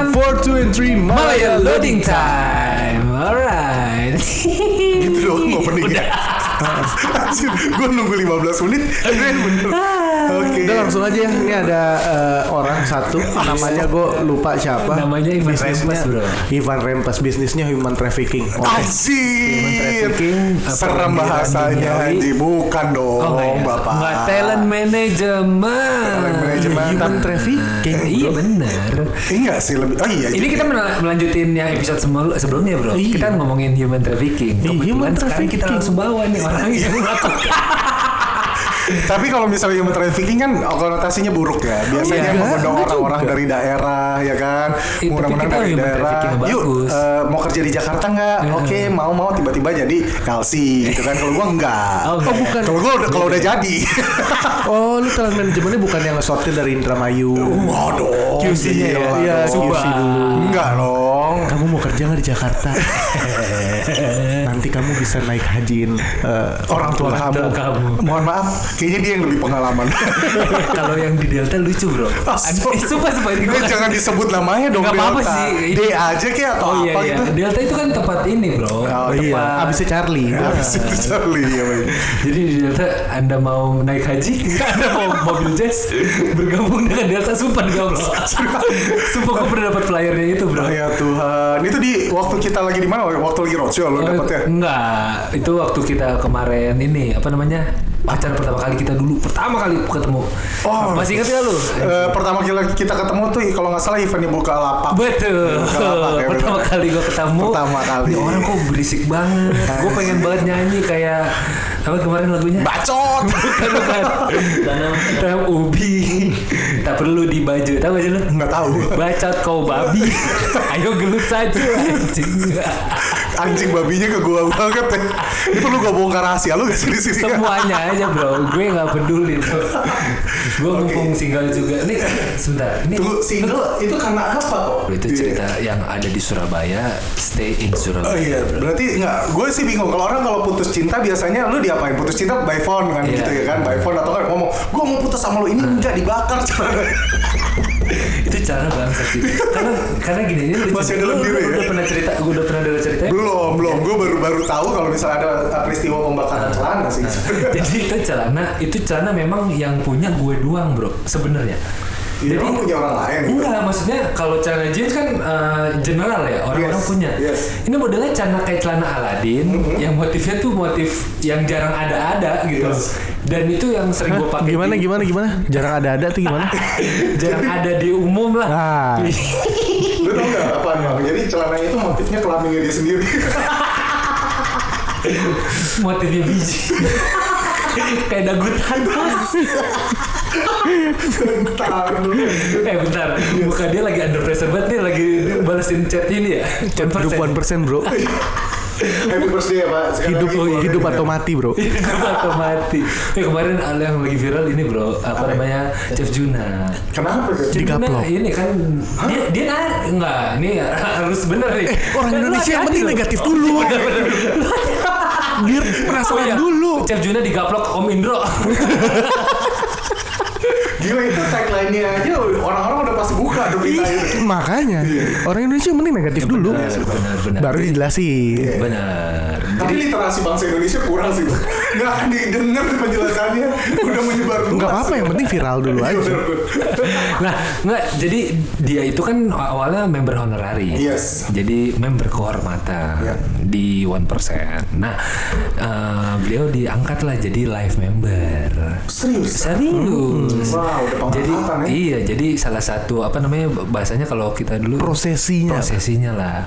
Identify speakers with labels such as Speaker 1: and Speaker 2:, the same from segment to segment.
Speaker 1: and Three
Speaker 2: Malaya loading time. Alright.
Speaker 1: Gitu
Speaker 2: Iya,
Speaker 1: doang openingnya Gue nunggu 15 menit
Speaker 2: Eh,
Speaker 1: Keren bener Oke
Speaker 3: Udah langsung aja ya. Ini ada eh, orang satu namanya gue lupa siapa.
Speaker 2: Namanya Ivan Rempes, bro. Oh,
Speaker 3: Ivan Rempes bisnisnya human trafficking. Oke.
Speaker 1: Anjir
Speaker 2: trafficking, apa, pembiayaan
Speaker 1: Serem bahasanya
Speaker 2: duniawi.
Speaker 1: Anji Bukan dong
Speaker 2: Nggak
Speaker 1: Bapak
Speaker 2: Oh, iya. talent management.
Speaker 1: Talent management.
Speaker 3: Human trafficking.
Speaker 2: Iya benar.
Speaker 1: Iya sih lebih Oh iya
Speaker 2: Ini
Speaker 1: jadi-
Speaker 2: kita menel- melanjutin yang episode semel- sebelumnya bro.
Speaker 3: Iya.
Speaker 2: Kita ngomongin human trafficking.
Speaker 3: Iya,
Speaker 2: Kebetulan
Speaker 3: human
Speaker 2: sekarang kita
Speaker 3: trafficking.
Speaker 2: langsung bawa nih orang yang melakukan.
Speaker 1: Tapi kalau misalnya human trafficking kan konotasinya buruk ya. Biasanya
Speaker 2: Iya,
Speaker 1: mengundang
Speaker 3: enggak
Speaker 1: orang-orang dari daerah ya kan.
Speaker 2: Eh, tapi
Speaker 1: Mudah-mudahan
Speaker 2: kita
Speaker 1: dari
Speaker 2: human
Speaker 1: daerah.
Speaker 2: trafficking yang
Speaker 1: Yuk
Speaker 2: bagus." Iya.
Speaker 1: eh, mau kerja di Jakarta nggak? Oke mau mau tiba-tiba jadi Kalsi gitu kan. Kalau gua enggak.
Speaker 2: Oh,
Speaker 3: Oh bukan.
Speaker 1: Kalau gua udah kalau udah jadi.
Speaker 3: Oh lu talent manajemennya bukan yang ngesortir dari Indramayu.
Speaker 1: Waduh.
Speaker 3: QC-nya ya?
Speaker 1: gila
Speaker 3: Iya,
Speaker 1: dong.
Speaker 3: QC dulu.
Speaker 1: Enggak dong.
Speaker 3: Kamu mau kerja nggak di Jakarta? Nanti kamu bisa naik hajiin eh,
Speaker 1: Orang tua kamu.
Speaker 2: kamu.
Speaker 1: Mohon maaf, kayaknya dia yang lebih pengalaman.
Speaker 2: Kalau yang di Delta lucu bro. Aduh, eh, Sumpah sumpah ini
Speaker 1: Ini
Speaker 2: gua
Speaker 1: jangan disebut namanya dong.
Speaker 2: Nggak apa-apa
Speaker 1: Delta.
Speaker 2: sih, ini-
Speaker 1: D aja kayak atau
Speaker 2: Oh iya
Speaker 1: apa
Speaker 2: iya.
Speaker 1: gitu.
Speaker 2: Delta itu kan tempat ini bro.
Speaker 1: Oh,
Speaker 2: tempat...
Speaker 3: Iya, abisnya Charlie.
Speaker 1: Habis itu Charlie ya, Bang.
Speaker 2: Jadi di Delta Anda mau naik haji, Anda mau mobil jazz bergabung dengan Delta Sumpah juga bro. Sumpah gue pernah dapat flyernya itu bro.
Speaker 1: Ya Tuhan, itu di waktu kita lagi di mana? Waktu lagi roadshow lo
Speaker 2: Oh,
Speaker 1: dapet ya?
Speaker 2: Enggak, itu waktu kita kemarin ini apa namanya pacar pertama kali kita dulu pertama kali ketemu.
Speaker 1: Oh.
Speaker 2: masih ingat nggak lu?
Speaker 1: Eh, pertama kali kita ketemu tuh kalau nggak salah eventnya buka lapak.
Speaker 2: Betul.
Speaker 1: Buka lapak ya,
Speaker 2: pertama
Speaker 1: bener.
Speaker 2: kali gue ketemu.
Speaker 1: Pertama kali.
Speaker 2: Ini orang kok berisik banget. gue pengen banget nyanyi kayak apa kemarin lagunya?
Speaker 1: Bacot.
Speaker 2: Bukan, bukan. Tanam, tanam ubi. tak perlu di baju. Tahu gak sih lu?
Speaker 1: Nggak tahu.
Speaker 2: Bacot kau babi. Ayo gelut saja. anjing.
Speaker 1: Anjing babinya ke gua banget ya. Ini perlu gua bongkar rahasia lu gak sih di sini?
Speaker 2: Semuanya aja bro. Gue nggak peduli. Bro. Gue mumpung single juga. Nih sebentar. Ini
Speaker 1: Tunggu, single itu karena apa kok?
Speaker 2: Oh, itu cerita yang ada di Surabaya. Stay in
Speaker 1: Oh
Speaker 2: Surabaya.
Speaker 1: iya, berarti nggak, gue sih bingung. Kalau orang kalau putus cinta biasanya lu diapain? Putus cinta by phone kan
Speaker 2: Iya.
Speaker 1: gitu ya kan? By phone atau kan ngomong, gue mau putus sama lu ini enggak dibakar.
Speaker 2: itu cara bangsa sih karena karena gini ini lucu.
Speaker 1: iya. Masih ada
Speaker 2: Lu-
Speaker 1: lendir
Speaker 2: lu
Speaker 1: ya?
Speaker 2: udah pernah cerita gue udah pernah dengar cerita
Speaker 1: belum, belum. Gue baru baru tahu kalau misalnya ada peristiwa pembakaran celana sih.
Speaker 2: jadi itu celana itu celana memang yang punya gue doang bro sebenarnya
Speaker 1: Jadi
Speaker 2: jadi
Speaker 1: emang punya orang lain. gitu?
Speaker 2: enggak maksudnya kalau celana jeans kan eh, general ya orang-orang
Speaker 1: Yes,
Speaker 2: punya
Speaker 1: yes. Mm-hmm.
Speaker 2: ini modelnya celana kayak celana Aladin yang motifnya tuh motif yang jarang ada-ada gitu
Speaker 1: Yes.
Speaker 2: dan itu yang sering gue pakai
Speaker 3: Gimana
Speaker 2: di-
Speaker 3: gimana gimana? Jarang ada-ada tuh gimana?
Speaker 2: jarang ada di umum lah
Speaker 3: Ah.
Speaker 1: Lu tau nggak apa Bang? Jadi celananya itu motifnya kelaminnya dia sendiri.
Speaker 2: motifnya biji kayak dagu Thanos
Speaker 1: Bentar.
Speaker 2: eh bentar muka dia lagi under pressure banget nih lagi balesin chat ini ya
Speaker 3: Hidup 1% bro.
Speaker 1: Happy birthday ya Pak. Sekali
Speaker 3: Hidup
Speaker 1: lagi keluarga
Speaker 3: hidup
Speaker 1: kita.
Speaker 3: atau mati bro.
Speaker 2: hidup atau mati eh kemarin ada yang lagi viral ini bro apa namanya Chef Juna
Speaker 1: Kenapa? Bro?
Speaker 2: Chef Juna
Speaker 3: Digaplok.
Speaker 2: ini kan dia dia nar enggak ini harus bener nih
Speaker 3: Eh, orang
Speaker 2: Kan lu
Speaker 3: Indonesia yang
Speaker 2: hati-hati
Speaker 3: penting
Speaker 2: loh.
Speaker 3: negatif dulu.
Speaker 2: Bener, bener.
Speaker 3: Biar penasaran
Speaker 2: Oh iya,
Speaker 3: dulu.
Speaker 2: Chef Juna digaplok Om Indro
Speaker 1: Gila itu tagline-nya aja orang-orang udah pasti buka tuh
Speaker 3: Ih,
Speaker 1: berita itu.
Speaker 3: Makanya orang Indonesia yang penting negatif
Speaker 2: Iya,
Speaker 3: dulu.
Speaker 2: benar benar
Speaker 3: Baru
Speaker 2: Iya,
Speaker 3: dijelasin.
Speaker 2: benar
Speaker 1: Tapi literasi bahasa Indonesia kurang sih. Bang. Nggak akan didengar penjelasannya. Udah menyebar luas.
Speaker 3: Enggak apa-apa yang penting viral dulu
Speaker 1: Iya,
Speaker 3: aja.
Speaker 1: bener, bener.
Speaker 2: Nah, nggak. Jadi dia itu kan awalnya member honorari.
Speaker 1: Yes.
Speaker 2: Jadi member kehormatan
Speaker 1: Ya.
Speaker 2: di One Nah, eh, beliau diangkatlah jadi live member.
Speaker 1: Serius.
Speaker 2: Serius.
Speaker 3: Hmm.
Speaker 1: Wow, udah
Speaker 2: Jadi
Speaker 1: penghormatan ya.
Speaker 2: iya, jadi salah satu apa namanya bahasanya kalau kita dulu
Speaker 1: Iya,
Speaker 3: Prosesinya.
Speaker 2: prosesinya lah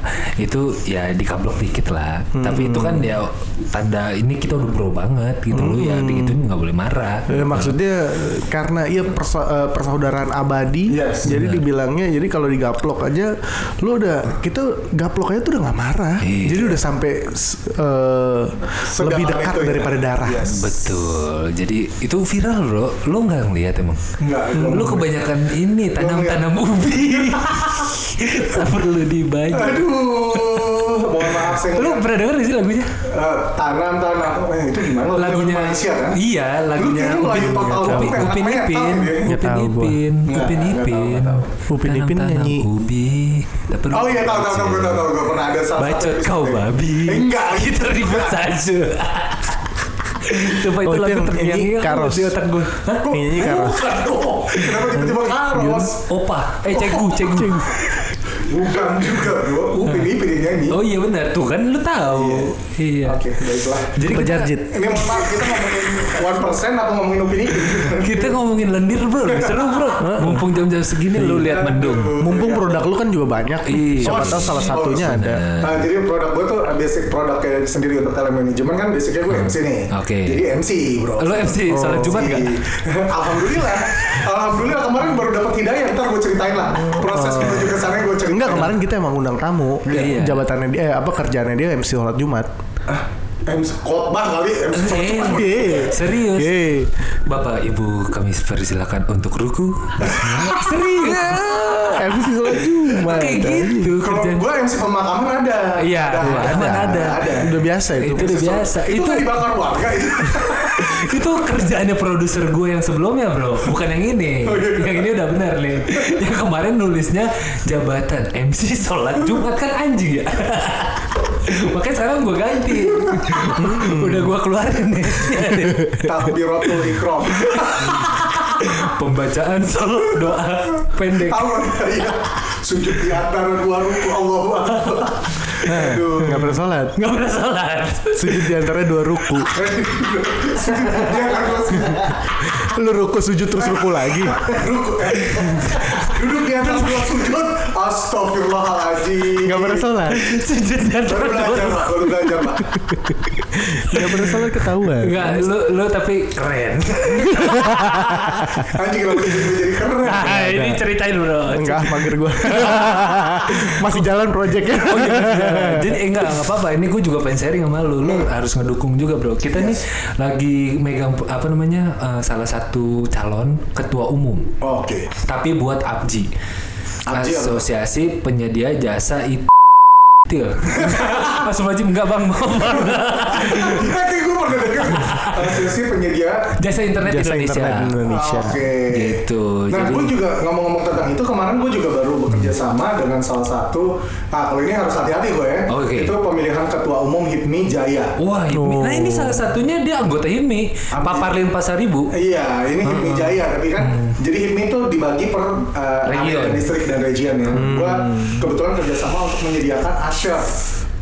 Speaker 2: itu ya dikablok dikit lah tapi itu
Speaker 1: Hmm.
Speaker 2: kan ya tanda ini kita udah pro banget gitu loh ya
Speaker 1: Hmm.
Speaker 2: gitu nggak boleh marah
Speaker 1: Ya,
Speaker 3: Eh, maksudnya eh, karena iya persa- eh, persaudaraan abadi,
Speaker 1: Yes,
Speaker 3: jadi dibilangnya jadi kalau digaplok aja, lu udah kita gaplok aja tuh udah nggak marah,
Speaker 2: Iya.
Speaker 3: jadi udah sampai s- eh,
Speaker 1: Sedalam
Speaker 3: lebih dekat
Speaker 1: itu ya.
Speaker 3: daripada darah.
Speaker 1: Yes.
Speaker 2: Betul. Jadi itu viral, Bro. Lo nggak ngeliat emang?
Speaker 1: Nggak, gua
Speaker 2: Lo kebanyakan ini tanam-tanam ubi. tak perlu dibagi.
Speaker 1: Aduh, mau mohon maaf
Speaker 2: Lu
Speaker 1: saya nggak-
Speaker 2: pernah denger gak sih lagunya?
Speaker 1: Eh, tanam tanam eh, itu gimana
Speaker 2: Lagunya
Speaker 1: Malaysia kan
Speaker 2: Iya, lagunya
Speaker 1: kayaknya Melayu
Speaker 2: Upin-
Speaker 1: total banget,
Speaker 2: Upin Upin
Speaker 1: nggak
Speaker 2: Ipin,
Speaker 1: tahu ya.
Speaker 2: Upin
Speaker 3: Nggak tahu gua.
Speaker 2: Ipin,
Speaker 1: Nggak,
Speaker 2: Upin
Speaker 1: nggak tahu,
Speaker 2: Ipin.
Speaker 1: nggak tahu.
Speaker 3: Upin
Speaker 2: Tanam
Speaker 3: Ipin
Speaker 2: tanam
Speaker 3: nyanyi.
Speaker 2: Ubi, tak perlu
Speaker 1: Oh iya tahu tahu tahu
Speaker 2: belajar.
Speaker 1: gue tahu tahu gue pernah ada salah
Speaker 2: Bacot
Speaker 1: satu
Speaker 2: kau
Speaker 1: episode.
Speaker 2: babi.
Speaker 1: Eh, Enggak
Speaker 2: Kita
Speaker 1: gitu
Speaker 2: ribet saja. Coba
Speaker 3: Oh,
Speaker 2: itu
Speaker 3: itu
Speaker 2: lagu
Speaker 3: yang-
Speaker 2: terngiang
Speaker 3: ini Karos.
Speaker 2: di otak gue. Hah?
Speaker 3: Nyanyi Karos.
Speaker 1: Bukan kok. Oh, Kenapa tiba-tiba karos?
Speaker 2: Opa, eh cegu, cegu.
Speaker 1: Bukan juga bro. Oh, Upin Ipin yang nyanyi.
Speaker 2: Oh iya benar, tuh kan lu tahu. Iya.
Speaker 1: Oke baiklah.
Speaker 2: Jadi
Speaker 3: Coba
Speaker 2: kita-
Speaker 3: Jarjit.
Speaker 1: Ini mohon maaf kita ngomongin one persen apa ngomongin Upin Ipin?
Speaker 2: Kita ngomongin lendir bro, seru bro. Mumpung jam-jam segini lu lihat mendung.
Speaker 3: Mumpung produk lu kan juga banyak
Speaker 2: Iya.
Speaker 3: nih. Siapa tahu salah
Speaker 1: Oh,
Speaker 3: satunya
Speaker 1: sudah.
Speaker 3: ada.
Speaker 2: Eh,
Speaker 1: Nah, jadi produk gue tuh basic produknya sendiri untuk talent management kan basicnya gue MC nih.
Speaker 2: Oke.
Speaker 1: Jadi MC bro.
Speaker 2: Lu MC salat Jumat
Speaker 1: Iya.
Speaker 2: gak?
Speaker 1: Alhamdulillah. Alhamdulillah kemarin baru dapat hidayah. Ntar gue ceritain lah
Speaker 2: Oh.
Speaker 1: proses menuju ke sana gue ceritain.
Speaker 3: Enggak kemarin kita emang undang tamu.
Speaker 2: Iya.
Speaker 3: Jabatannya dia eh, apa kerjaannya dia MC sholat Jumat.
Speaker 1: MC khotbah kali MC sholat Jumat.
Speaker 2: Eh, serius.
Speaker 3: Yeay.
Speaker 2: Bapak Ibu kami persilakan untuk ruku. serius.
Speaker 3: MC sholat Jumat.
Speaker 2: Kayak gitu
Speaker 1: Kalau
Speaker 2: kerjaan.
Speaker 1: gue MC pemakaman ada.
Speaker 2: Iya, ada, ada.
Speaker 3: Udah biasa itu.
Speaker 2: Itu udah biasa.
Speaker 1: Itu,
Speaker 2: Itu
Speaker 1: kan dibakar warga itu.
Speaker 2: itu kerjaannya produser gue yang sebelumnya, Bro. Bukan yang ini. Yang ini udah benar nih. Yang kemarin nulisnya jabatan MC sholat Jumat kan anjing ya. Makanya sekarang gue ganti. udah gue keluarin nih.
Speaker 1: Takbiratul ikram.
Speaker 2: Pembacaan sholat doa pendek.
Speaker 1: Tahu nggak? Iya. Sujud di antara dua ruku Allah Aduh.
Speaker 3: Enggak pernah sholat.
Speaker 2: Nggak pernah sholat.
Speaker 3: Sujud di antara dua ruku.
Speaker 1: Sujud di antara
Speaker 3: Lu ruku sujud terus ruku lagi.
Speaker 1: ruku. Duduk di antara dua sujud. Astagfirullahaladzim.
Speaker 3: Enggak pernah sholat.
Speaker 2: Sujud di
Speaker 1: Baru
Speaker 2: antara dua
Speaker 1: belajar pak, baru belajar pak.
Speaker 3: Enggak pernah sholat ketahuan.
Speaker 2: Enggak, lu, lu tapi keren.
Speaker 1: Anjing kenapa tiba-tiba jadi keren?
Speaker 2: Nah, ini ceritain bro.
Speaker 3: Enggak, mager gua. Masih jalan projectnya.
Speaker 2: Oh iya, iya. Jadi eh, enggak enggak apa-apa. Ini gue juga pengen sharing sama lu. Lu harus ngedukung juga, Bro. Kita nih lagi megang apa namanya? eh, salah satu calon ketua umum.
Speaker 1: Oke.
Speaker 2: Tapi buat APJI.
Speaker 1: APJI apa?
Speaker 2: Asosiasi Penyedia Jasa IT. Mas Wajib enggak bang, Bang.
Speaker 1: Nanti gue Eh, pernah denger. Asosiasi penyedia
Speaker 2: Jasa internet
Speaker 3: Jasa
Speaker 2: Indonesia.
Speaker 3: internet Indonesia.
Speaker 1: Oke.
Speaker 2: Gitu,
Speaker 1: Nah,
Speaker 2: jadi-
Speaker 1: gue juga ngomong-ngomong tentang itu kemarin gue juga baru bekerja sama dengan salah satu. Nah, kalau ini harus hati-hati gue ya.
Speaker 2: Oke.
Speaker 1: Itu pemilihan ketua umum HIPMI Jaya.
Speaker 2: Wah, Hipmi. Nah ini salah satunya dia anggota Hipmi.
Speaker 1: Apa
Speaker 2: Pak
Speaker 1: sih?
Speaker 2: Parlin Pasaribu.
Speaker 1: Iya, ini HIPMI Jaya, tapi kan jadi HIPMI itu dibagi per eh,
Speaker 2: Region.
Speaker 1: area, distrik dan region ya. Gue kebetulan kerjasama untuk menyediakan asher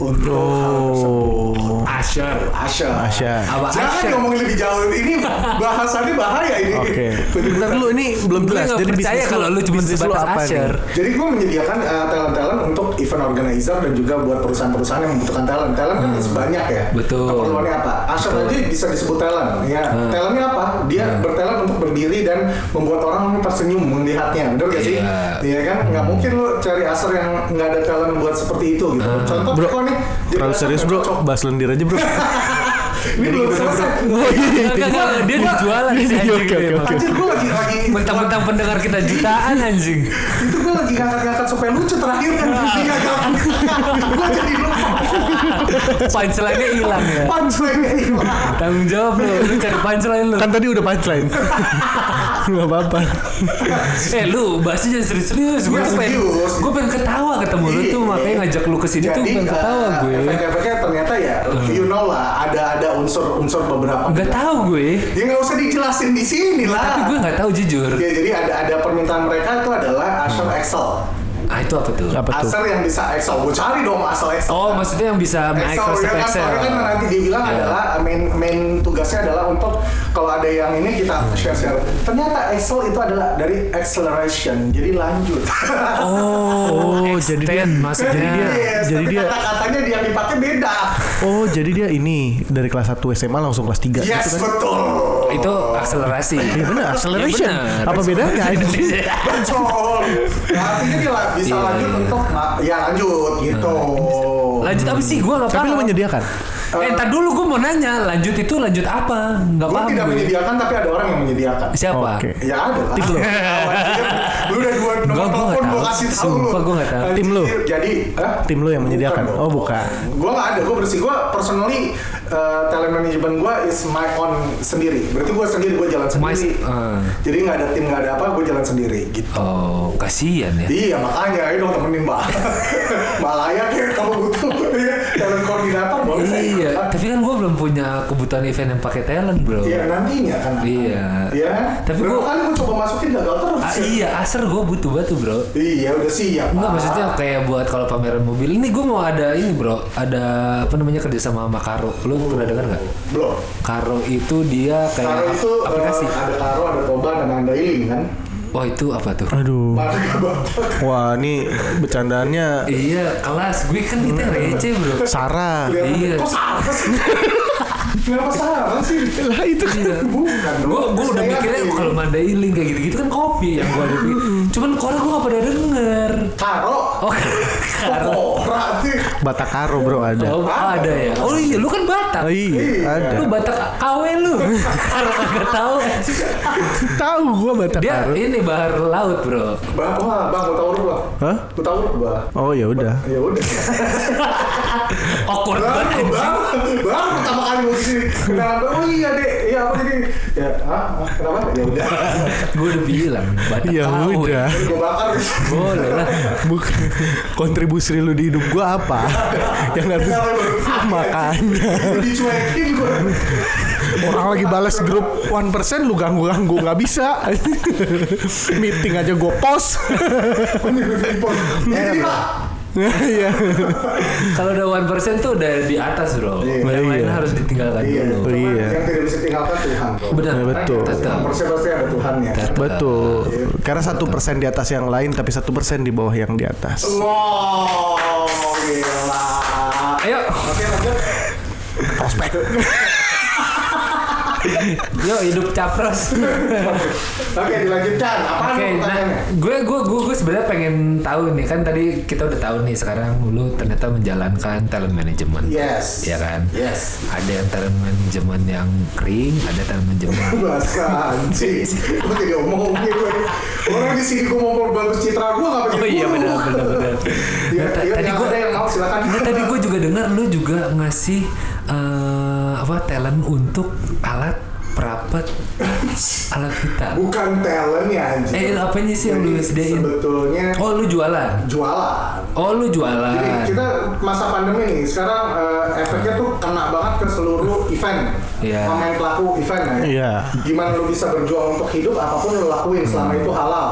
Speaker 1: untuk hal tersebut.
Speaker 2: Asher.
Speaker 1: Asher.
Speaker 3: Asya.
Speaker 2: Apa
Speaker 1: Jangan
Speaker 2: Asher?
Speaker 1: diomongin lebih jauh. Ini bahasannya bahaya ini.
Speaker 3: Oke.
Speaker 1: Penyebutan.
Speaker 3: Bentar lu ini belum
Speaker 2: Gue
Speaker 3: jelas.
Speaker 2: nggak
Speaker 3: Jadi
Speaker 2: percaya
Speaker 3: bisnis
Speaker 2: kalau lu cuma
Speaker 3: bisnis
Speaker 2: sebatas
Speaker 3: apa nih?
Speaker 2: Asher.
Speaker 1: Jadi gue menyediakan eh, talent-talent untuk event organizer dan juga buat perusahaan-perusahaan yang membutuhkan talent. Talent kan banyak ya.
Speaker 2: Hmm. Betul. Hmm.
Speaker 1: Keperluannya apa? Asal aja bisa disebut talent. Ya, talentnya apa? Dia bertalent untuk berdiri dan membuat orang tersenyum melihatnya. Bener gak sih?
Speaker 2: Iya.
Speaker 1: Iya kan? Nggak mungkin lo cari asal yang nggak ada talent buat seperti itu gitu.
Speaker 2: Hmm.
Speaker 1: Contoh
Speaker 3: Bro,
Speaker 1: kok nih. jadi
Speaker 3: Terlalu
Speaker 1: asal
Speaker 3: serius
Speaker 1: nggak
Speaker 3: bro,
Speaker 1: cocok.
Speaker 3: bahas lendir aja bro.
Speaker 1: Ini belum selesai.
Speaker 3: Oh,
Speaker 2: Enggak, enggak, enggak. dia dijualan
Speaker 3: Iya,
Speaker 2: sih
Speaker 3: iya,
Speaker 2: anjing
Speaker 3: oke,
Speaker 2: ini,
Speaker 3: oke,
Speaker 2: Bang.
Speaker 3: oke.
Speaker 1: Anjir gue lagi lagi
Speaker 2: Mentang-mentang pendengar kita jutaan anjing.
Speaker 1: itu gue lagi ngangkat-ngangkat supaya lucu terakhir kan jadinya gue jadi lupa
Speaker 2: Punchline-nya hilang ya.
Speaker 1: punchline hilang
Speaker 2: Tanggung jawab lu, lu cari punchline lu.
Speaker 3: Kan tadi udah punchline. Enggak apa-apa.
Speaker 2: Eh lu bahasnya jangan serius-serius. Gue
Speaker 1: Iya,
Speaker 2: pengen
Speaker 1: serius.
Speaker 2: gue pengen ketawa ketemu lu tuh
Speaker 1: Iya.
Speaker 2: makanya ngajak lu ke sini tuh pengen
Speaker 1: nggak-
Speaker 2: ketawa gue.
Speaker 1: Efek-efeknya ternyata ya,
Speaker 2: Hmm.
Speaker 1: you know lah, ada ada unsur-unsur beberapa.
Speaker 2: Enggak tahu gue.
Speaker 1: Ya nggak usah dijelasin di sini lah.
Speaker 2: Tapi gue enggak tahu jujur.
Speaker 3: Iya.
Speaker 1: Ya, jadi ada ada permintaan mereka itu
Speaker 2: Hmm.
Speaker 1: adalah asal Excel.
Speaker 2: Ah itu apa tuh?
Speaker 3: Apa tuh?
Speaker 1: Asal yang bisa Excel, gue cari dong asal Excel.
Speaker 2: Oh, maksudnya yang
Speaker 3: Eh,
Speaker 2: bisa
Speaker 1: Excel,
Speaker 2: mengakses
Speaker 1: ya kan,
Speaker 2: Excel.
Speaker 1: soalnya kan nanti dibilang
Speaker 2: Iya.
Speaker 1: adalah uh, main main tugasnya adalah untuk kalau ada yang ini kita
Speaker 2: Hmm.
Speaker 1: share share. Ternyata Excel itu adalah dari acceleration, jadi lanjut.
Speaker 2: Oh,
Speaker 3: Oh, jadi dia-
Speaker 2: extend maksudnya.
Speaker 1: Yes,
Speaker 3: jadi
Speaker 1: tapi
Speaker 3: dia-
Speaker 1: kata-katanya dia dipakai beda.
Speaker 3: Oh jadi dia ini dari kelas 1 SMA langsung kelas 3
Speaker 1: Yes,
Speaker 3: gitu kan?
Speaker 1: betul.
Speaker 2: Itu akselerasi.
Speaker 3: Iya benar, acceleration. Apa bedanya?
Speaker 1: Betul. Nah, Artinya dia la- bisa
Speaker 2: Iya,
Speaker 1: lanjut
Speaker 2: iya.
Speaker 1: untuk ma- ya lanjut gitu.
Speaker 2: lanjut apa sih gue nggak
Speaker 3: Tapi lu
Speaker 2: paham.
Speaker 3: menyediakan.
Speaker 2: eh ntar dulu gue mau nanya lanjut itu lanjut apa nggak
Speaker 1: Gue
Speaker 2: paham
Speaker 1: tidak
Speaker 2: gue
Speaker 1: menyediakan tapi ada orang yang menyediakan.
Speaker 2: siapa
Speaker 3: Oke.
Speaker 1: Ya ada lah. Lu udah dua nomor
Speaker 2: Enggak, gua
Speaker 1: telepon
Speaker 2: nggak
Speaker 1: gue
Speaker 2: tahu.
Speaker 1: ngasih tahu lu.
Speaker 2: Sumpah, gua nggak tahu.
Speaker 1: Anjir,
Speaker 3: Tim lu?
Speaker 1: Jadi, Hah?
Speaker 3: Tim lu yang menyediakan?
Speaker 1: Bukan dong.
Speaker 3: Oh, bukan.
Speaker 1: Gua nggak ada, gua bersih. Gua personally uh, talent management gua is my own sendiri. Berarti gua sendiri, gua jalan
Speaker 2: My-
Speaker 1: sendiri.
Speaker 2: ah.
Speaker 1: Jadi nggak ada tim, nggak ada apa, gua jalan sendiri gitu.
Speaker 2: Oh, kasihan ya.
Speaker 1: Iya makanya, ayo dong temenin mbak Mbak layak ya kalau butuh ya, Talent koordinator boleh saya
Speaker 2: Iya,
Speaker 1: ikut.
Speaker 2: tapi kan gue belum punya kebutuhan event yang pakai talent, bro.
Speaker 1: Iya nantinya kan akan.
Speaker 2: Iya.
Speaker 1: Iya
Speaker 2: Tapi
Speaker 1: Berapa
Speaker 2: gua-
Speaker 1: kali gua coba masukin gagal terus
Speaker 2: Ah,
Speaker 1: ya?
Speaker 2: iya, aser gue butuh batu, bro.
Speaker 1: Iya udah siap
Speaker 2: Enggak
Speaker 1: Pak.
Speaker 2: maksudnya kayak buat kalau pameran mobil. Ini gue mau ada ini, bro. Ada apa namanya kerja sama sama Karo. Lo pernah dengar nggak?
Speaker 1: Belum
Speaker 2: Karo itu dia kayak
Speaker 1: Oh. Karo itu eh,
Speaker 2: aplikasi.
Speaker 1: ada Karo, ada Toba, dan ada Iling kan
Speaker 2: Wah itu apa tuh?
Speaker 3: Aduh.
Speaker 1: Marga Bapak
Speaker 3: Wah, ini bercandaannya
Speaker 2: Iya kelas gue kan kita receh bro.
Speaker 3: Sarah.
Speaker 1: Kelihatan-
Speaker 2: Iya.
Speaker 1: Kok salah sih? Kenapa salah sih?
Speaker 3: Lah itu
Speaker 2: Iya.
Speaker 1: Bukan
Speaker 2: Gue gue udah
Speaker 1: Saya
Speaker 2: mikirnya
Speaker 1: yakin.
Speaker 2: kalau mandailing kayak gitu-gitu kan kopi yang gue ada pikir. Cuman Koro gue gak pernah denger.
Speaker 1: Karo
Speaker 2: Oh Karo.
Speaker 1: Oh, berarti
Speaker 3: Batakaro, Bro, ada.
Speaker 2: Oh ada ya. Oh iya lu kan Batak.
Speaker 3: Oh, iya,
Speaker 1: Iya.
Speaker 3: ada.
Speaker 2: Lu Batak KW lu. Karo kagak tahu. anjing.
Speaker 3: Tahu gua
Speaker 2: Dia
Speaker 3: Batakaro.
Speaker 2: ini bahar laut bro.
Speaker 1: Bah, wah, bang, gue tau lu bang
Speaker 3: Hah?
Speaker 1: Gue tau lu bang
Speaker 3: Oh, ya udah.
Speaker 1: Ya udah.
Speaker 2: Awkward
Speaker 1: Baru,
Speaker 2: banget. anjing.
Speaker 1: baru, baru pertama kali mau kesini. Kenapa? Oh iya dek, iya apa jadi? Ya, ah, ah, kenapa? Ya udah.
Speaker 2: Gue udah bilang Batak
Speaker 1: Iya,
Speaker 3: Ya
Speaker 2: KW.
Speaker 3: udah.
Speaker 1: Gue bakar.
Speaker 2: Boleh lah.
Speaker 3: Bukan kontribusi lu di hidup gua apa? Yang harus
Speaker 1: Kenapa baru?
Speaker 3: makanya
Speaker 1: Dicuekin gue.
Speaker 3: orang lagi balas grup 1% lu ganggu-ganggu nggak bisa. Meeting aja gua post.
Speaker 1: Telepon. Jadi pak,
Speaker 3: Iya.
Speaker 2: Kalau udah 1% tuh udah di atas bro.
Speaker 1: Iya.
Speaker 2: Yang lain
Speaker 3: Iya.
Speaker 2: harus ditinggalkan
Speaker 1: iya.
Speaker 2: dulu.
Speaker 1: cuman
Speaker 3: Iya.
Speaker 1: Yang tidak bisa tinggalkan Tuhan. bro.
Speaker 2: Benar.
Speaker 3: Ya, betul.
Speaker 2: Tetap.
Speaker 1: Persia pasti ada Tuhannya.
Speaker 3: Betul. Karena satu persen di atas yang lain, tapi satu persen di bawah yang di atas.
Speaker 1: Wow, gila.
Speaker 2: Ayo.
Speaker 1: Oke, lanjut.
Speaker 2: Yo hidup capres.
Speaker 1: Oke, dilanjutkan. Apa
Speaker 2: Oke,
Speaker 1: pertanyaannya?
Speaker 2: nah gue gue gue gue sebenarnya pengen tahu nih kan tadi kita udah tahu nih sekarang lu ternyata menjalankan talent management.
Speaker 1: Yes.
Speaker 3: Ya.
Speaker 2: Iya kan?
Speaker 1: Yes.
Speaker 2: Ada yang talent management yang kering, ada talent management.
Speaker 1: Bahasa anjing. Lu tidak omongin gue. Orang di sini gue mau perbagus citra gue gak pengen
Speaker 2: Oh iya
Speaker 1: dulu.
Speaker 2: benar benar benar.
Speaker 1: Ya,
Speaker 2: Nah, ta-
Speaker 1: ya,
Speaker 2: tadi
Speaker 1: yang
Speaker 2: gue
Speaker 1: ada yang mau silakan.
Speaker 2: Nah, tadi gue juga dengar lu juga ngasih eh, apa talent untuk alat perapat alat vital.
Speaker 1: Bukan talentnya anjing.
Speaker 2: Eh, apanya sih yang lu
Speaker 1: Jadi,
Speaker 2: sediain?
Speaker 1: Sebetulnya
Speaker 2: Oh lu jualan.
Speaker 1: jualan.
Speaker 2: Oh lu jualan.
Speaker 1: Jadi kita masa pandemi nih, sekarang eh, efeknya tuh kena banget ke seluruh event.
Speaker 2: Iya.
Speaker 1: Pemain pelaku event ya.
Speaker 3: Iya.
Speaker 1: Gimana lu bisa berjuang untuk hidup, apapun lu lakuin selama itu halal.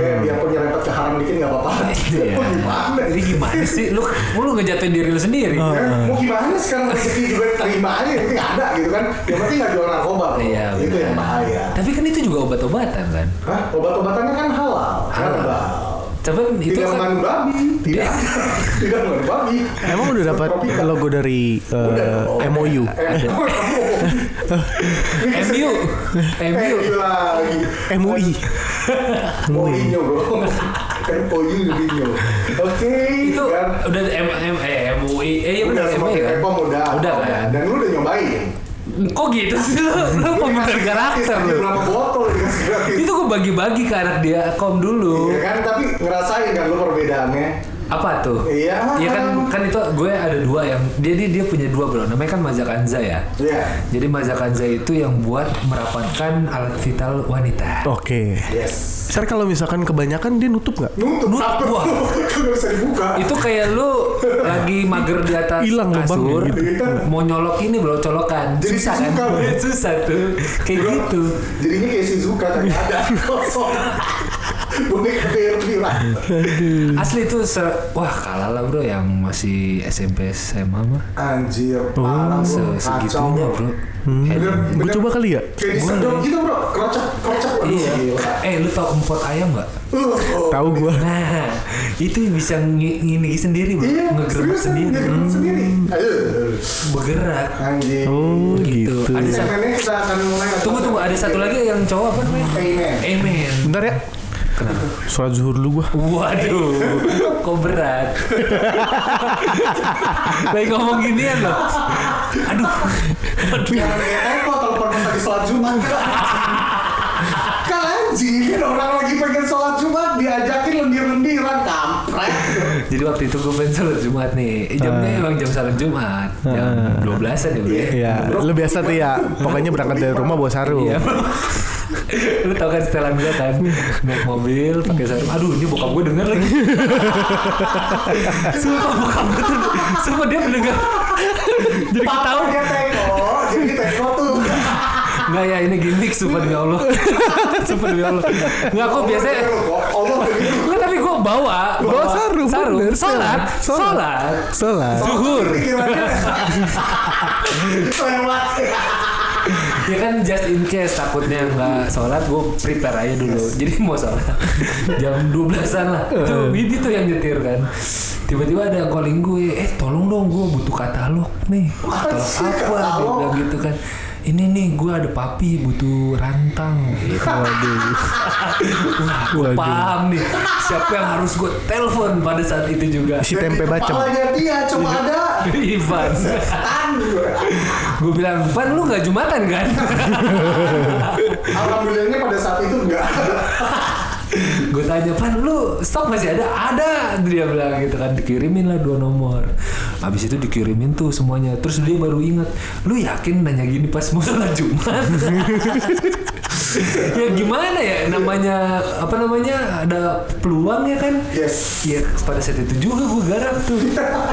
Speaker 1: Kayak biarpun nyerempet ke haram dikit gak apa-apa.
Speaker 2: Hmm. Iya.
Speaker 1: Lu gimana?
Speaker 2: Jadi gimana sih? Lu lu ngejatuhin diri lu sendiri.
Speaker 1: Ya, mau gimana sekarang rezeki juga terima aja, yang penting ada gitu kan. Yang penting nggak jual narkoba. bro.
Speaker 2: Iya.
Speaker 1: itu
Speaker 2: benar.
Speaker 1: yang bahaya.
Speaker 2: Tapi kan itu juga obat-obatan kan?
Speaker 1: Hah? Obat-obatannya kan halal.
Speaker 2: Halal.
Speaker 1: Herbal.
Speaker 2: Cuman itu
Speaker 1: Tidak
Speaker 2: kan
Speaker 1: mengandung babi. Tidak. Tidak mengandung babi.
Speaker 3: Emang udah dapat
Speaker 1: Tropika.
Speaker 3: logo dari eh,
Speaker 1: Udah dong.
Speaker 3: MOU?
Speaker 1: Eh,
Speaker 2: MU. MU.
Speaker 1: MOU Eh, lagi.
Speaker 3: MUI.
Speaker 2: Hmm.
Speaker 1: MOU bro. Kan MOU Mourinho. Oke.
Speaker 2: Itu
Speaker 1: kan.
Speaker 2: udah M M eh MUI. Eh iya
Speaker 1: Udah
Speaker 2: benar MUI
Speaker 1: semakin
Speaker 2: kan?
Speaker 1: repot udah.
Speaker 2: Udah kan?
Speaker 1: Dan lu udah nyobain.
Speaker 2: Kok gitu sih lu? Lu
Speaker 1: Iya.
Speaker 2: pemikir karakter
Speaker 1: Kasih
Speaker 2: lu.
Speaker 1: Berapa botol dikasih gratis.
Speaker 2: Itu gue bagi-bagi ke anak dia kom dulu.
Speaker 1: Iya kan, tapi ngerasain kan lu perbedaannya.
Speaker 2: Apa tuh?
Speaker 1: Iya.
Speaker 2: Iya kan kan itu gue ada dua yang jadi dia punya dua bro. Namanya kan Mazak Anza ya.
Speaker 1: Iya.
Speaker 2: Jadi Mazak Anza itu yang buat merapatkan alat vital wanita.
Speaker 3: Oke.
Speaker 1: Yes.
Speaker 3: Sir kalau misalkan kebanyakan dia nutup nggak?
Speaker 1: Nutup
Speaker 2: Nutup,
Speaker 1: apa?
Speaker 2: wah.
Speaker 1: Itu nggak bisa dibuka.
Speaker 2: Itu kayak lu lagi mager di atas
Speaker 3: Hilang
Speaker 2: kasur,
Speaker 3: lubangnya
Speaker 1: gitu.
Speaker 2: mau nyolok ini bro, colokan.
Speaker 1: Jadi
Speaker 2: susah kan?
Speaker 1: suka, bro.
Speaker 2: susah tuh. Kayak gitu.
Speaker 1: Jadinya kayak Shizuka tadi
Speaker 2: Iya.
Speaker 1: ada kosong. Boneka Barbie lah.
Speaker 3: Hmm.
Speaker 2: Asli itu ser- wah kalah lah bro yang masih SMP SMA mah.
Speaker 1: Anjir, parah
Speaker 2: Oh, Se
Speaker 1: Ah, bro. Kacau
Speaker 2: segitunya bro. Eh,
Speaker 1: Bener,
Speaker 3: Gue
Speaker 1: bener.
Speaker 3: coba kali ya.
Speaker 1: Kayak disedot gitu bro, kerocok, kerocok. Aduh,
Speaker 2: Iya.
Speaker 1: gila.
Speaker 2: Eh lu tau empot ayam nggak?
Speaker 1: Uh, oh.
Speaker 3: Tahu gua.
Speaker 2: Nah, itu bisa ngi- ini sendiri, bro.
Speaker 1: Iya,
Speaker 2: Ngegerbek
Speaker 1: serius
Speaker 2: sendiri, Hmm.
Speaker 1: ngegerbek sendiri. Aduh,
Speaker 2: bergerak.
Speaker 1: anjir.
Speaker 3: Oh gitu.
Speaker 2: Gitu. Ada satu-
Speaker 1: Segmennya kita akan mulai.
Speaker 2: Tunggu tunggu, ada satu lagi yang cowok apa namanya?
Speaker 1: Amen.
Speaker 2: Amen.
Speaker 3: Bentar ya.
Speaker 2: Kenapa?
Speaker 3: Sholat zuhur dulu gua.
Speaker 2: Waduh, kok berat. Lagi ngomong ginian loh. Aduh. Aduh.
Speaker 1: Yang kayak tempo telepon pas lagi sholat Jumat. kan anjing, orang lagi pengen sholat Jumat diajakin lendir-lendiran
Speaker 2: Jadi waktu itu gue pengen sholat Jumat nih. Eh, jamnya emang jam sholat Jumat. Jam 12-an ya bro ya.
Speaker 3: Iya, lu biasa tuh ya. Pokoknya berangkat dari rumah bawa sarung.
Speaker 2: Iya. lu tau kan setelan gue kan naik mobil pakai sarung aduh ini bokap gue denger lagi sumpah bokap gue tuh sumpah dia mendengar jadi gue tahu
Speaker 1: Dia teko, jadi teko tuh.
Speaker 2: nggak ya ini gimmick sumpah demi allah sumpah demi allah nggak kok biasanya
Speaker 1: Allah begitu.
Speaker 2: nggak tapi gue bawa
Speaker 3: Bawa sarung,
Speaker 2: sarung
Speaker 3: bener,
Speaker 2: sholat
Speaker 3: sholat,
Speaker 2: sholat
Speaker 3: Salah.
Speaker 2: zuhur
Speaker 1: Pikirannya. Lewat.
Speaker 2: ya kan just in case takutnya nggak sholat gue prepare aja dulu jadi mau sholat jam 12an lah itu
Speaker 3: Eh.
Speaker 2: Bibi tuh yang nyetir kan tiba-tiba ada calling gue eh tolong dong gue butuh katalog nih katalog
Speaker 1: Asik,
Speaker 2: apa dia
Speaker 1: katalog.
Speaker 2: bilang gitu kan ini nih gue ada papi butuh rantang gitu. Wah,
Speaker 3: Waduh.
Speaker 2: paham nih siapa yang harus gue telepon pada saat itu juga
Speaker 3: Si tempe bacem.
Speaker 1: Kepalanya dia cuma ada.
Speaker 2: Ivan
Speaker 1: Tan.
Speaker 2: gue bilang Ivan lu nggak jumatan kan
Speaker 1: Alhamdulillahnya pada saat itu enggak.
Speaker 2: gue tanya pan lu stok masih ada ada dia bilang gitu kan dikirimin lah dua nomor habis itu dikirimin tuh semuanya terus dia baru ingat lu yakin nanya gini pas mau sholat jumat ya gimana ya namanya apa namanya ada peluang ya kan
Speaker 1: Yes.
Speaker 2: Iya pada saat itu juga gue garap tuh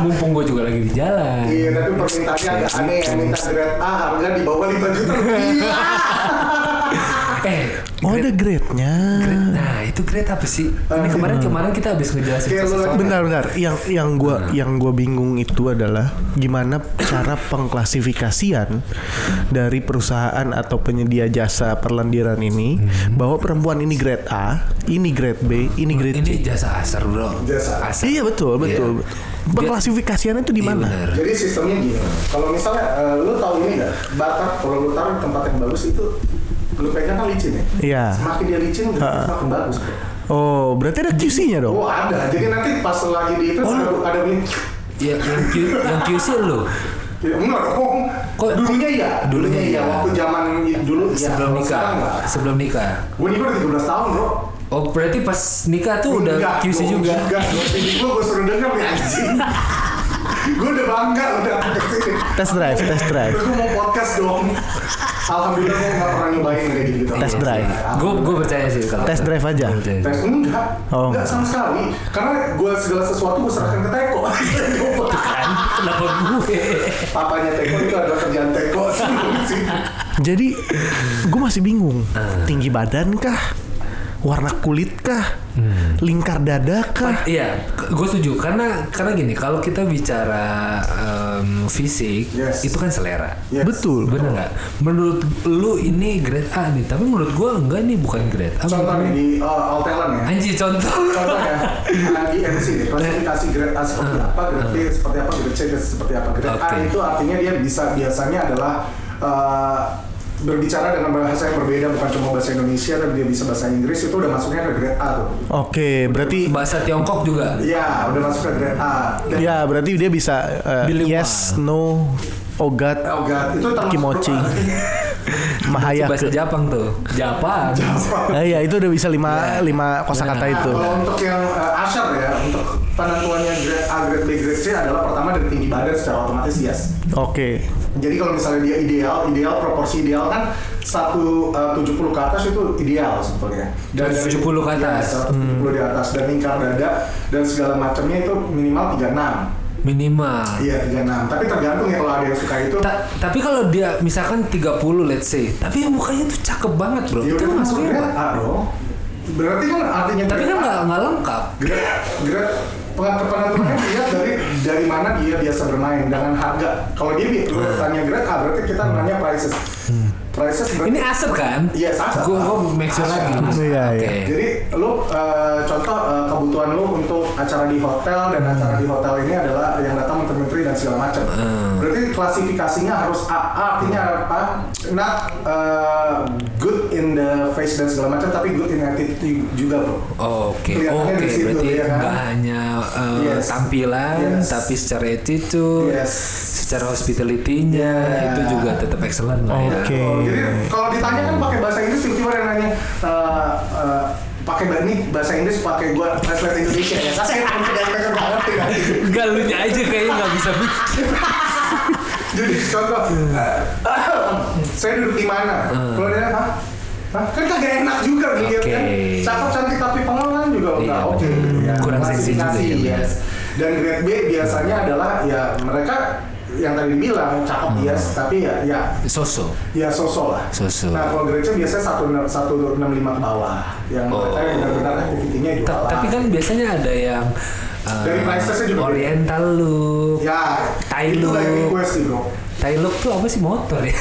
Speaker 2: mumpung gue juga lagi di jalan
Speaker 1: Iya, tapi permintaannya agak aneh. Yang minta grade A harga di bawah 5 juta rupiah.
Speaker 2: eh
Speaker 3: Oh ada grade-nya.
Speaker 2: grade- nah itu grade apa sih ini kemarin kemarin kita habis ngejelasin
Speaker 1: Kayak lu-
Speaker 2: sesuatu.
Speaker 3: Bentar-bentar, yang yang gua yang gua bingung itu adalah gimana cara pengklasifikasian dari perusahaan atau penyedia jasa perlendiran ini bahwa perempuan ini grade A, ini grade B, ini grade C.
Speaker 2: ini jasa asar bro
Speaker 1: Jasa.
Speaker 2: asar
Speaker 3: Iya betul, betul. Pengklasifikasiannya itu di
Speaker 2: Iya,
Speaker 3: mana?
Speaker 2: bener.
Speaker 1: Jadi sistemnya gini, kalau misalnya eh, lu tahu ini nggak, batak kalau lu taruh di tempat yang bagus itu lu pegang kan licin ya.
Speaker 3: Iya.
Speaker 1: Semakin dia licin,
Speaker 3: Ha-ha.
Speaker 1: semakin bagus. Bro.
Speaker 3: Oh, berarti ada QC-nya dong.
Speaker 1: Oh ada, jadi nanti pas lagi di itu
Speaker 2: Oh.
Speaker 1: ada, ada bunyi.
Speaker 2: Ya, yang Q, yang QC lo.
Speaker 1: Ya, enggak dong.
Speaker 2: Kok-
Speaker 1: dulunya ya,
Speaker 2: Dulunya iya.
Speaker 1: Waktu zaman i- dulu ya.
Speaker 2: Sebelum
Speaker 1: Kalau
Speaker 2: nikah.
Speaker 1: sekarang nggak.
Speaker 2: Sebelum nikah.
Speaker 1: Gue nikah udah 13 tahun bro.
Speaker 2: Oh, berarti pas nikah tuh udah
Speaker 1: Enggak,
Speaker 2: QC
Speaker 1: gua
Speaker 2: juga.
Speaker 1: Enggak, gue gue suruh denger nih anjing. gue udah bangga udah datang ke sini.
Speaker 3: Test drive, test drive.
Speaker 1: Terus gue mau podcast dong. Alhamdulillah gue nggak pernah nyobain kayak gitu.
Speaker 2: Iya,
Speaker 3: Test drive.
Speaker 2: Gue gue percaya sih kalau.
Speaker 3: Test
Speaker 2: itu. Iya.
Speaker 3: drive aja.
Speaker 2: Gua percaya.
Speaker 1: Tes enggak,
Speaker 3: Oh.
Speaker 1: enggak sama sekali. Karena gue segala sesuatu gue serahkan ke Teko.
Speaker 2: Kan, kenapa gue?
Speaker 1: Papanya Teko itu adalah kerjaan Teko sebelum sih.
Speaker 3: Jadi gue masih bingung
Speaker 2: Ah.
Speaker 3: tinggi badan kah, warna kulit kah,
Speaker 2: Hmm.
Speaker 3: lingkar dada kah?
Speaker 2: Iya, gue setuju karena karena gini kalau kita bicara em, fisik
Speaker 1: Yes.
Speaker 2: itu kan selera.
Speaker 1: Yes.
Speaker 3: Betul.
Speaker 2: Bener nggak? Menurut lu ini grade A nih, tapi menurut gue enggak nih bukan grade A.
Speaker 1: Contoh nih di uh, All Talent ya.
Speaker 2: Anjir contoh.
Speaker 1: Contoh ya, uh, di MC nih, klasifikasi grade A seperti
Speaker 3: Ah.
Speaker 1: apa, grade B seperti apa, grade C seperti apa. Grade A
Speaker 2: Oke.
Speaker 1: itu artinya dia bisa biasanya adalah uh, berbicara dengan bahasa yang berbeda bukan cuma bahasa Indonesia tapi dia bisa bahasa Inggris itu udah masuknya ke grade A tuh.
Speaker 3: Oke, berarti
Speaker 2: Bahasa Tiongkok juga.
Speaker 1: Iya, udah masuk ke grade A. Dan
Speaker 3: ya berarti dia bisa eh,
Speaker 2: Bilingual.
Speaker 3: yes, no, oh god,
Speaker 1: Oh god, itu termasuk Iya.
Speaker 3: Kimochi. mahaya.
Speaker 2: Bahasa
Speaker 3: ke-
Speaker 2: Jepang tuh. Japang.
Speaker 3: Nah, ya itu udah bisa lima lima kosakata
Speaker 1: Nah,
Speaker 3: itu.
Speaker 1: kalau untuk yang uh, Asher ya, untuk penentuannya grade A, grade B, grade C adalah pertama dari tinggi badan secara otomatis yes.
Speaker 3: Oke.
Speaker 1: Jadi kalau misalnya dia ideal, ideal proporsi ideal kan 170 ke atas itu ideal sebetulnya.
Speaker 2: 170 ke atas.
Speaker 1: Ya, 170 di atas dan lingkar dada dan segala macamnya itu minimal 36.
Speaker 2: Minimal.
Speaker 1: Iya 36. Tapi tergantung ya kalau ada yang suka itu.
Speaker 2: Ta- tapi kalau dia misalkan 30 let's say, tapi yang mukanya tuh cakep banget bro.
Speaker 1: Ya
Speaker 2: Itu
Speaker 1: udah masuk
Speaker 2: masuknya apa?
Speaker 1: grade A dong. Berarti kan artinya
Speaker 2: Tapi kan
Speaker 1: grade A.
Speaker 2: nggak nggak lengkap.
Speaker 1: Grade grade penentuannya dilihat dari dari mana dia biasa bermain dengan harga. Kalau dia bi- lu tanya grade A berarti kita nanya prices. Prices berarti
Speaker 2: Ini aset kan?
Speaker 1: Iya, aset.
Speaker 2: Gue gue make sure
Speaker 1: Aset.
Speaker 2: lagi.
Speaker 3: Iya,
Speaker 2: Oke.
Speaker 3: iya.
Speaker 1: Jadi lu eh, contoh eh, kebutuhan lu untuk acara di hotel dan acara di hotel ini adalah yang datang menteri-menteri dan segala macam. Berarti klasifikasinya harus A, A artinya apa? Not eh, good in the face dan segala macam, tapi good in attitude juga bro.
Speaker 2: Oke,
Speaker 1: Kelihatannya
Speaker 2: oke,
Speaker 1: di situ,
Speaker 2: berarti
Speaker 1: ya kan?
Speaker 2: nggak hanya eh,
Speaker 1: Yes.
Speaker 2: tampilan,
Speaker 1: Yes.
Speaker 2: tapi secara attitude,
Speaker 1: Yes.
Speaker 2: secara hospitality-nya
Speaker 1: Yeah.
Speaker 2: itu juga tetap excellent lah ya.
Speaker 3: Oke.
Speaker 1: Oh, Jadi kalau ditanya kan pakai bahasa Inggris tiba-tiba ada yang nanya eh, eh, pakai bah- ini bahasa Inggris pakai gua translate Indonesia ya kan saya pengen banget tidak
Speaker 2: Enggak lu aja kayaknya nggak bisa bikin.
Speaker 1: jadi contoh eh, saya duduk di mana
Speaker 2: Eh.
Speaker 1: kalau dia hah Hah? kan kagak enak juga dilihat
Speaker 2: Oke.
Speaker 1: kan cakep cantik tapi pengelan juga
Speaker 2: Iya,
Speaker 1: enggak oke
Speaker 2: bener.
Speaker 1: gitu ya.
Speaker 2: Kurang seksi juga
Speaker 1: Klasifikasi,
Speaker 2: ya, bener.
Speaker 1: yes. dan grade B biasanya adalah ya mereka yang tadi bilang cakep
Speaker 2: Hmm.
Speaker 1: yes tapi ya ya
Speaker 2: Sosok.
Speaker 1: ya sosok lah
Speaker 2: Sosok.
Speaker 1: nah kalau grade C biasanya satu satu enam lima ke bawah yang mereka yang benar-benar aktivitinya
Speaker 2: Oh. Ta-
Speaker 1: jualan
Speaker 2: Tapi kan biasanya ada yang eh,
Speaker 1: Dari prices-nya juga beda.
Speaker 2: Oriental look.
Speaker 1: ya
Speaker 2: Tai
Speaker 1: itu
Speaker 2: lu.
Speaker 1: lagi request sih bro
Speaker 2: Thai look tuh apa sih motor ya?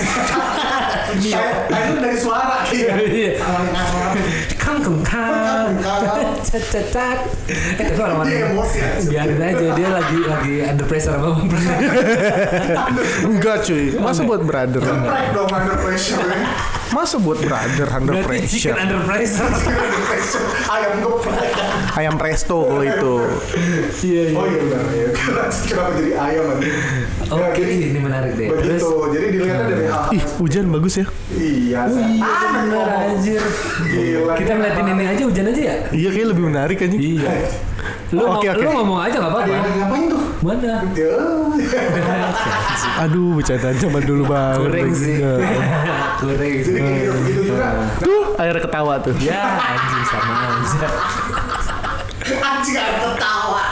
Speaker 1: saya tai lu dari suara
Speaker 2: Iya.
Speaker 1: iya
Speaker 2: Kang kang kang. Cet cet cet. Eh tapi orang
Speaker 1: Dia
Speaker 2: mana?
Speaker 1: emosi aja.
Speaker 2: Biarin aja dia lagi lagi under pressure apa apa.
Speaker 3: Enggak cuy, masa buat brother?
Speaker 1: Geprek dong under pressure ya.
Speaker 3: Masa buat brother under
Speaker 2: Berarti chicken
Speaker 3: pressure?
Speaker 2: under pressure.
Speaker 1: Under pressure. Ayam geprek.
Speaker 3: Ayam presto kalau itu.
Speaker 2: Iya iya.
Speaker 1: Oh iya benar ya. Kenapa- Kenapa jadi ayam aja?
Speaker 2: Oke Oh, ini menarik deh. Terus Oh,
Speaker 1: Begitu. Jadi dilihatnya dari hal
Speaker 3: Ih, hujan bagus ya.
Speaker 1: Iya. saya-
Speaker 2: Iya
Speaker 1: Ah,
Speaker 2: bener
Speaker 1: ngomong.
Speaker 2: anjir.
Speaker 1: Gila.
Speaker 2: Kita ngeliatin ini aja hujan aja ya?
Speaker 3: Iya kayak lebih menarik aja.
Speaker 2: Iya. Lu,
Speaker 3: Oh,
Speaker 2: mau-
Speaker 3: oke, oke.
Speaker 2: lu ngomong aja gak
Speaker 1: Ada
Speaker 2: apa-apa.
Speaker 1: yang ngapain tuh?
Speaker 2: Mana?
Speaker 1: Ya.
Speaker 3: Aduh, bercandaan zaman dulu banget.
Speaker 2: Goreng sih.
Speaker 3: Iya.
Speaker 2: Goreng
Speaker 1: Jadi
Speaker 2: sih.
Speaker 1: kayak gitu, begitu juga.
Speaker 3: Tuh, air ketawa tuh.
Speaker 2: Ya anjing sama aja.
Speaker 1: Anjing ada ketawa.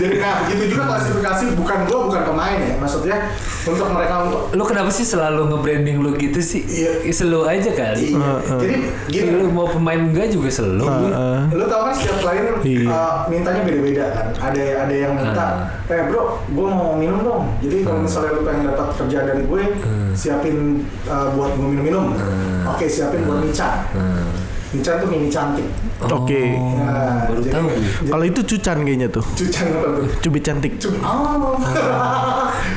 Speaker 1: Jadi nah begitu juga klasifikasi bukan gua bukan pemain ya. Maksudnya untuk mereka untuk
Speaker 2: Lu kenapa sih selalu nge-branding lu gitu sih?
Speaker 1: Iya.
Speaker 2: Selo aja kali.
Speaker 1: Iya. Jadi gini.
Speaker 2: Lu mau pemain enggak juga selo.
Speaker 3: Heeh.
Speaker 1: Lu tau kan setiap klien
Speaker 3: Iya.
Speaker 1: uh, mintanya beda-beda kan. Ada ada yang minta, eh bro, gue mau minum dong. Jadi kalau misalnya lu pengen dapat kerjaan dari gue, siapin uh, buat gue minum-minum. Oke, siapin buat Mican. Mican tuh mini cantik.
Speaker 3: Oke.
Speaker 1: Nah,
Speaker 2: Oh, baru tahu.
Speaker 3: Kalau itu cucan kayaknya tuh.
Speaker 1: Cucan apa tuh?
Speaker 3: Cubit cantik.
Speaker 1: Cuk, oh.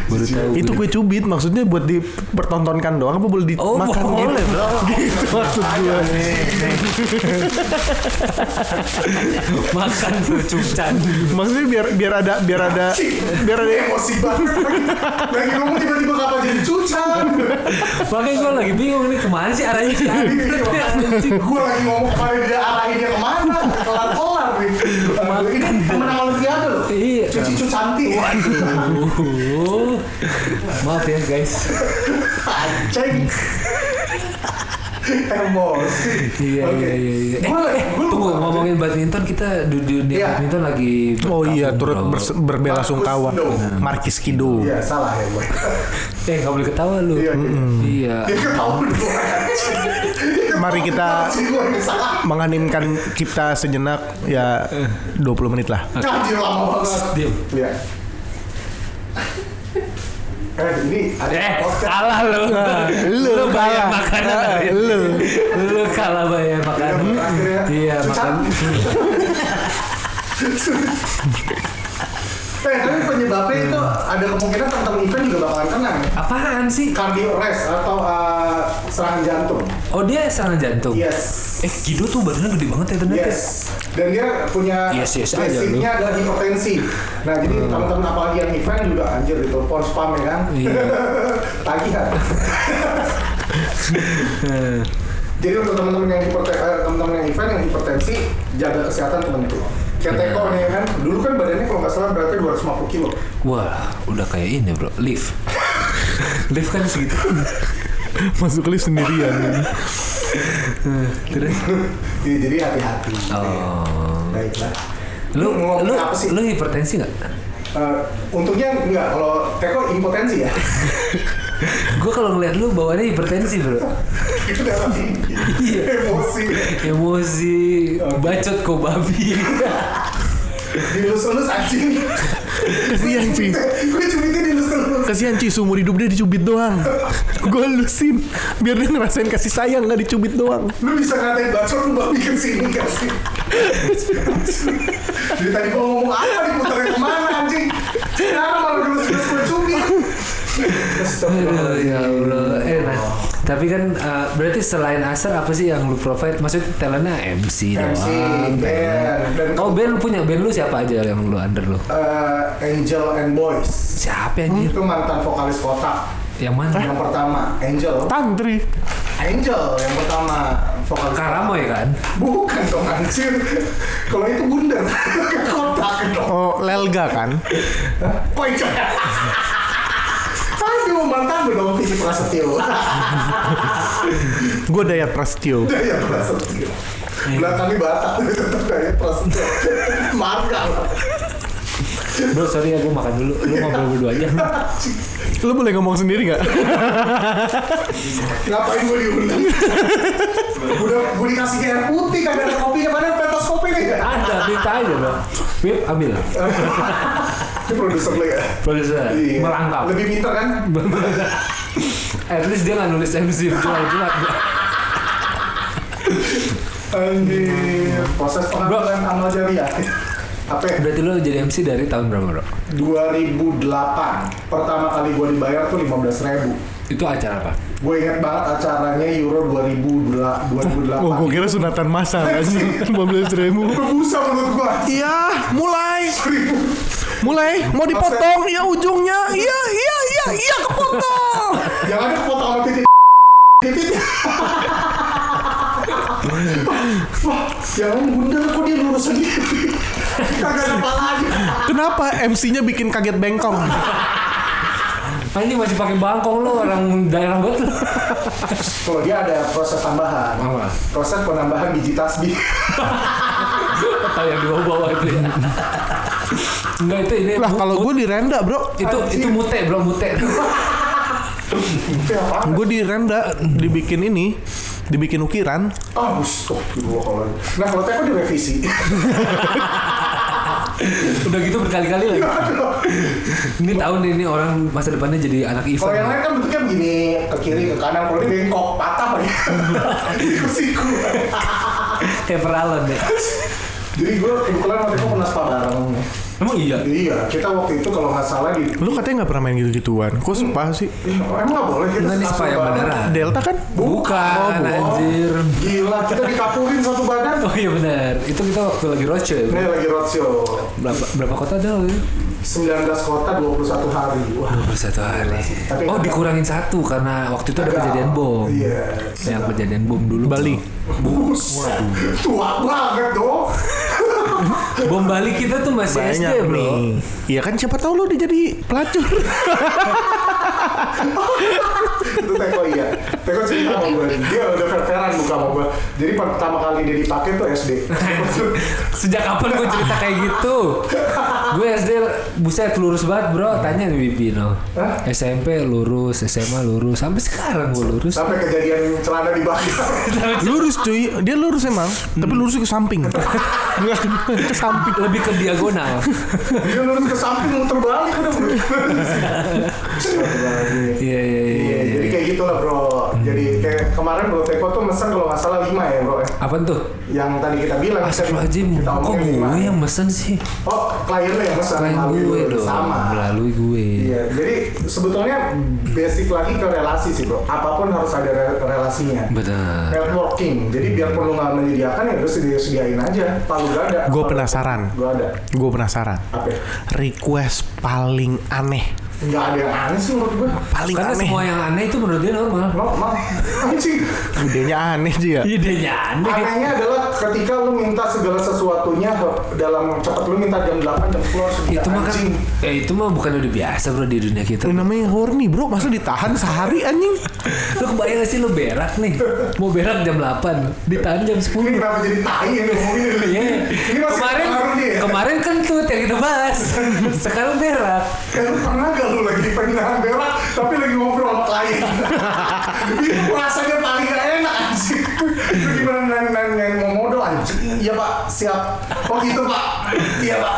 Speaker 2: Baru tahu.
Speaker 3: Itu kue
Speaker 2: gue.
Speaker 3: cubit maksudnya buat dipertontonkan doang apa boleh
Speaker 2: Oh,
Speaker 3: dimakan
Speaker 2: boleh,
Speaker 3: gitu?
Speaker 2: Bro.
Speaker 3: Gitu maksud gue.
Speaker 2: makan bercucan.
Speaker 3: Maksudnya biar biar ada biar ada biar ada
Speaker 1: emosi banget. Lagi ngomong tiba-tiba kapan jadi cucan?
Speaker 2: Makanya gue lagi bingung nih kemana sih arahnya sih anjing.
Speaker 1: gue lagi ngomong kemarin dia arahin dia kemana? Kelar-kelar nih. Ini kan pemenang Olimpiade loh.
Speaker 2: Iya.
Speaker 1: Cuci-cuci cantik.
Speaker 2: Uh, maaf ya guys.
Speaker 1: Pancing. Emosi.
Speaker 2: Iya
Speaker 1: Oke.
Speaker 2: iya iya. iya. Eh,
Speaker 1: Gua lagi-
Speaker 2: eh,
Speaker 1: gua
Speaker 2: tunggu
Speaker 1: lupa.
Speaker 2: ngomongin badminton kita di di dunia
Speaker 1: Iya.
Speaker 2: badminton lagi.
Speaker 3: Oh iya
Speaker 2: berkabung,
Speaker 3: turut
Speaker 2: bro.
Speaker 3: berse- berbela
Speaker 1: Markus
Speaker 3: sungkawa.
Speaker 1: Kido.
Speaker 3: Markis Kido.
Speaker 1: Iya salah ya gue.
Speaker 2: Eh nggak boleh ketawa lu.
Speaker 1: Iya, iya.
Speaker 2: Iya.
Speaker 1: Dia ketahuan gue.
Speaker 3: Mari kita-
Speaker 1: Gue yang salah.
Speaker 3: Menganimkan kita sejenak ya 20 menit lah.
Speaker 1: Jadi lama banget.
Speaker 2: Diam.
Speaker 1: Iya. Eh ini ada
Speaker 2: Eh,
Speaker 1: podcast.
Speaker 2: kalah
Speaker 1: Nah,
Speaker 2: lu.
Speaker 3: lu
Speaker 2: lu bayar
Speaker 3: kalah.
Speaker 2: makanan
Speaker 3: Ah,
Speaker 2: hari ini. Lu kalah bayar
Speaker 1: ya. Iya,
Speaker 2: makanan.
Speaker 1: terakhir ya.
Speaker 2: Iya,
Speaker 1: Cucan.
Speaker 2: makan.
Speaker 1: Eh tapi penyebabnya itu ada kemungkinan teman-teman event juga bakalan kena nih.
Speaker 2: Apaan sih?
Speaker 1: Cardio rest atau eh, serangan jantung.
Speaker 2: Oh, dia serangan jantung.
Speaker 1: Yes.
Speaker 2: Eh, Gido tuh badannya gede banget ya ternyata.
Speaker 1: Yes. Dan dia punya
Speaker 2: Yes, yes aja lu.
Speaker 1: basicnya adalah hipertensi. Nah, jadi teman-teman apalagi yang event juga anjir itu force spam ya kan.
Speaker 2: Iya.
Speaker 1: Tagihan. jadi untuk teman-teman yang hipertensi, teman-teman yang event yang hipertensi jaga kesehatan penting.
Speaker 2: Iya.
Speaker 1: Kayak teko nih ya kan, dulu kan badannya kalau nggak salah beratnya 250 kilo.
Speaker 2: Wah, udah kayak ini, Bro. Lift. Lift kan segitu.
Speaker 3: Masuk lift sendirian.
Speaker 2: Terus
Speaker 1: Ya, jadi hati-hati.
Speaker 2: oh.
Speaker 1: Baiklah.
Speaker 2: Lu
Speaker 1: ngomong
Speaker 2: lu
Speaker 1: apa sih?
Speaker 2: lu hipertensi enggak?
Speaker 1: Eh, untungnya enggak, kalau teko impotensi ya.
Speaker 2: Gue kalau ngeliat lu bawaannya hipertensi, Bro.
Speaker 1: itu dalam
Speaker 2: Iya.
Speaker 1: emosi.
Speaker 2: Emosi, bacot kok babi.
Speaker 1: dilus-lus anjing
Speaker 3: Kasihan cuy.
Speaker 1: gue cubitnya dilus-lus
Speaker 3: Kasihan cuy seumur hidup dia dicubit doang. Gue lusin biar dia ngerasain kasih sayang nggak dicubit doang.
Speaker 1: lu bisa ngatain bacot lu babi ke sini gak sih jadi tadi gua ngomong apa diputerin kemana anjing sekarang malah dilus-lus gue cubit
Speaker 2: Aduh,
Speaker 1: Astagfirullahaladzim.
Speaker 2: ya Allah. Eh, nah, tapi kan eh, berarti selain asar apa sih yang lu provide? Maksudnya talentnya MC,
Speaker 1: MC,
Speaker 2: doang.
Speaker 1: band, dan
Speaker 2: Oh band punya band lu siapa aja yang lu under lu?
Speaker 1: eh, Angel and Boys
Speaker 2: Siapa anjir?
Speaker 1: itu mantan vokalis kotak
Speaker 2: Yang mana?
Speaker 1: yang pertama Angel
Speaker 3: Tantri.
Speaker 1: Angel yang pertama vokalis
Speaker 2: Karamoy kan?
Speaker 1: Bukan dong anjir. Kalau itu bundar. Kotak dong.
Speaker 3: Oh, Lelga kan?
Speaker 1: Poin coba. Aduh, mantan gue dong Vicky Prasetyo.
Speaker 3: Gue Dayat Prasetyo.
Speaker 1: Daya Iya, Prasetyo. Belakangnya Batak, tetap Daya Prasetyo. Marga lah.
Speaker 2: Bro, sorry ya gue makan dulu. Lu ngobrol berdua aja.
Speaker 3: Lu boleh ngomong sendiri nggak?
Speaker 1: Ngapain gue diundang? Udah gue dikasih air putih, kagak ada kopinya. Mana pentas kopi nih?
Speaker 2: Ada, minta aja bro. Bip, ambil.
Speaker 1: Ini produser lagi ya?
Speaker 2: Produser, merangkap.
Speaker 1: Lebih pinter kan?
Speaker 2: At least dia nggak nulis MC jual-jual.
Speaker 1: Anjir. Proses pengambilan amal jariah. Apa ya?
Speaker 2: Berarti lu jadi MC dari tahun berapa bro?
Speaker 1: 2008 pertama kali gue dibayar tuh 15.000
Speaker 2: Itu acara apa?
Speaker 1: gue ingat banget acaranya Euro 2000 2008
Speaker 3: Oh, gue kira sunatan masal kan? 15 ribu.
Speaker 1: berbusa menurut gue
Speaker 3: Iya, mulai,
Speaker 1: seribu
Speaker 3: mulai, mau dipotong, ya ujungnya, iya, iya, iya, iya kepotong.
Speaker 1: yang ada foto sama titik titik wah jangan bundar kok dia lurus lagi kagak ada kepala aja
Speaker 3: Kenapa MC-nya bikin kaget bengkong?
Speaker 2: Anjing Kan masih pakai bangkong lu orang daerah banget lu.
Speaker 1: kalau dia ada proses tambahan
Speaker 2: Apa?
Speaker 1: proses penambahan biji tasbih
Speaker 2: Tahu yang di bawah-bawah itu ya. Enggak itu ini.
Speaker 3: Lah kalau gue di renda bro,
Speaker 2: itu itu mute bro mute.
Speaker 1: itu apa?
Speaker 3: gue di renda dibikin ini, dibikin ukiran.
Speaker 1: ah astagfirullah nah kalau teko direvisi
Speaker 2: Udah gitu berkali-kali lagi. Ini tahun ini orang masa depannya jadi anak event.
Speaker 1: Kalau yang lain kan bentuknya begini, ke kiri, ke kanan, kalau ini bengkok, patah lagi. Siku.
Speaker 2: Kayak peralon deh.
Speaker 1: Jadi gue kebetulan waktu itu pernah spa bareng.
Speaker 2: Emang iya.
Speaker 1: Iya, kita waktu itu kalau nggak salah di...
Speaker 3: Lu katanya nggak pernah main gitu-gituan. Kok sumpah sih?
Speaker 1: Ih, emang nggak boleh kita
Speaker 2: Enggak nih
Speaker 1: satu
Speaker 2: spa yang
Speaker 1: bareng.
Speaker 2: beneran.
Speaker 3: Delta kan?
Speaker 2: ya, Bukan,
Speaker 1: Oh, bohong.
Speaker 2: anjir.
Speaker 1: Gila, kita dikapurin satu badan.
Speaker 2: Oh iya benar. Itu kita waktu lagi roadshow ya. Bro.
Speaker 1: Ini lagi roadshow.
Speaker 2: Berapa, berapa kota ada waktu itu?
Speaker 1: 19 kota 21 hari. Wah.
Speaker 2: 21 hari.
Speaker 1: Tapi-
Speaker 2: Oh dikurangin satu karena waktu itu ada
Speaker 1: Ada-
Speaker 2: kejadian bom.
Speaker 1: Iya.
Speaker 2: Yang kejadian bom dulu.
Speaker 3: Bali.
Speaker 1: Bus. Tua banget dong.
Speaker 2: Bom Bali kita tuh masih SD
Speaker 3: Banyak
Speaker 2: bro.
Speaker 3: nih. Iya kan siapa tahu lu dia jadi pelacur.
Speaker 1: itu Teko iya Teko cerita sama gue dia udah fair-fairan buka sama gue jadi pertama kali dia dipakai tuh SD
Speaker 2: Sejak kapan gue cerita kayak gitu? gue SD buset lurus banget bro. Tanya nih Bibino.
Speaker 1: Hah?
Speaker 2: SMP lurus, SMA lurus, sampai sekarang gue lurus.
Speaker 1: sampai kejadian celana dibakar
Speaker 3: lurus cuy, dia lurus emang, tapi lurus ke samping. Nggak, ke samping.
Speaker 2: Lebih ke diagonal.
Speaker 1: dia lurus ke samping muter balik udah Muter balik.
Speaker 2: Iya iya iya.
Speaker 1: Iya,
Speaker 2: iya.
Speaker 1: jadi kayak gitulah bro.
Speaker 2: Hmm.
Speaker 1: Jadi kayak kemarin bro Teko tuh mesen kalau nggak salah 5 ya bro. ya.
Speaker 2: Apaan tuh?
Speaker 1: Yang tadi kita bilang.
Speaker 2: Astagfirullahaladzim,
Speaker 1: kita
Speaker 2: kok
Speaker 1: omongin lima.
Speaker 2: gue yang mesen sih?
Speaker 1: Oh, kliennya yang mesen.
Speaker 2: Klien
Speaker 1: Melalui
Speaker 2: gue
Speaker 1: lu.
Speaker 2: dong,
Speaker 1: Sama.
Speaker 2: melalui gue.
Speaker 1: Iya, jadi sebetulnya basic lagi ke relasi sih bro. Apapun harus ada re- relasinya.
Speaker 2: Benar.
Speaker 1: networking jadi biarpun lu nggak menyediakan ya terus disediain aja palu gak ada
Speaker 3: Gua penasaran.
Speaker 1: gue ada
Speaker 3: Gue penasaran.
Speaker 1: apa ya?
Speaker 3: Request paling aneh.
Speaker 1: nggak ada yang aneh sih menurut gue
Speaker 3: Paling
Speaker 2: Karena
Speaker 3: aneh.
Speaker 2: semua yang aneh itu menurut dia normal.
Speaker 1: normal anjing
Speaker 3: Idenya aneh sih ya.
Speaker 2: Idenya aneh.
Speaker 1: anehnya adalah ketika lu minta segala sesuatunya dalam cepat lu minta jam 8 jam 10
Speaker 2: itu mah kan,
Speaker 1: anjing
Speaker 2: ya itu mah bukan udah biasa bro di dunia kita.
Speaker 3: Ini namanya horny bro, masa ditahan sehari anjing?
Speaker 2: Lu kebayang gak sih lu berak nih, mau berak jam 8, ditahan jam
Speaker 1: ini
Speaker 2: 10.
Speaker 1: kenapa jadi tai ya ngomongin ini?
Speaker 2: Iya.
Speaker 1: ini masih
Speaker 2: Kemarin
Speaker 1: pengaruh dia ya?
Speaker 2: kemarin kentut yang kita bahas. Sekarang berak.
Speaker 1: Kan pernah gak lu lagi di pengenalan berak tapi lagi ngobrol sama klien? Itu rasanya paling gak enak anjing. Lu gimana nanya nanya mau modal anjing? Iya pak, siap. Oh gitu pak. Iya pak.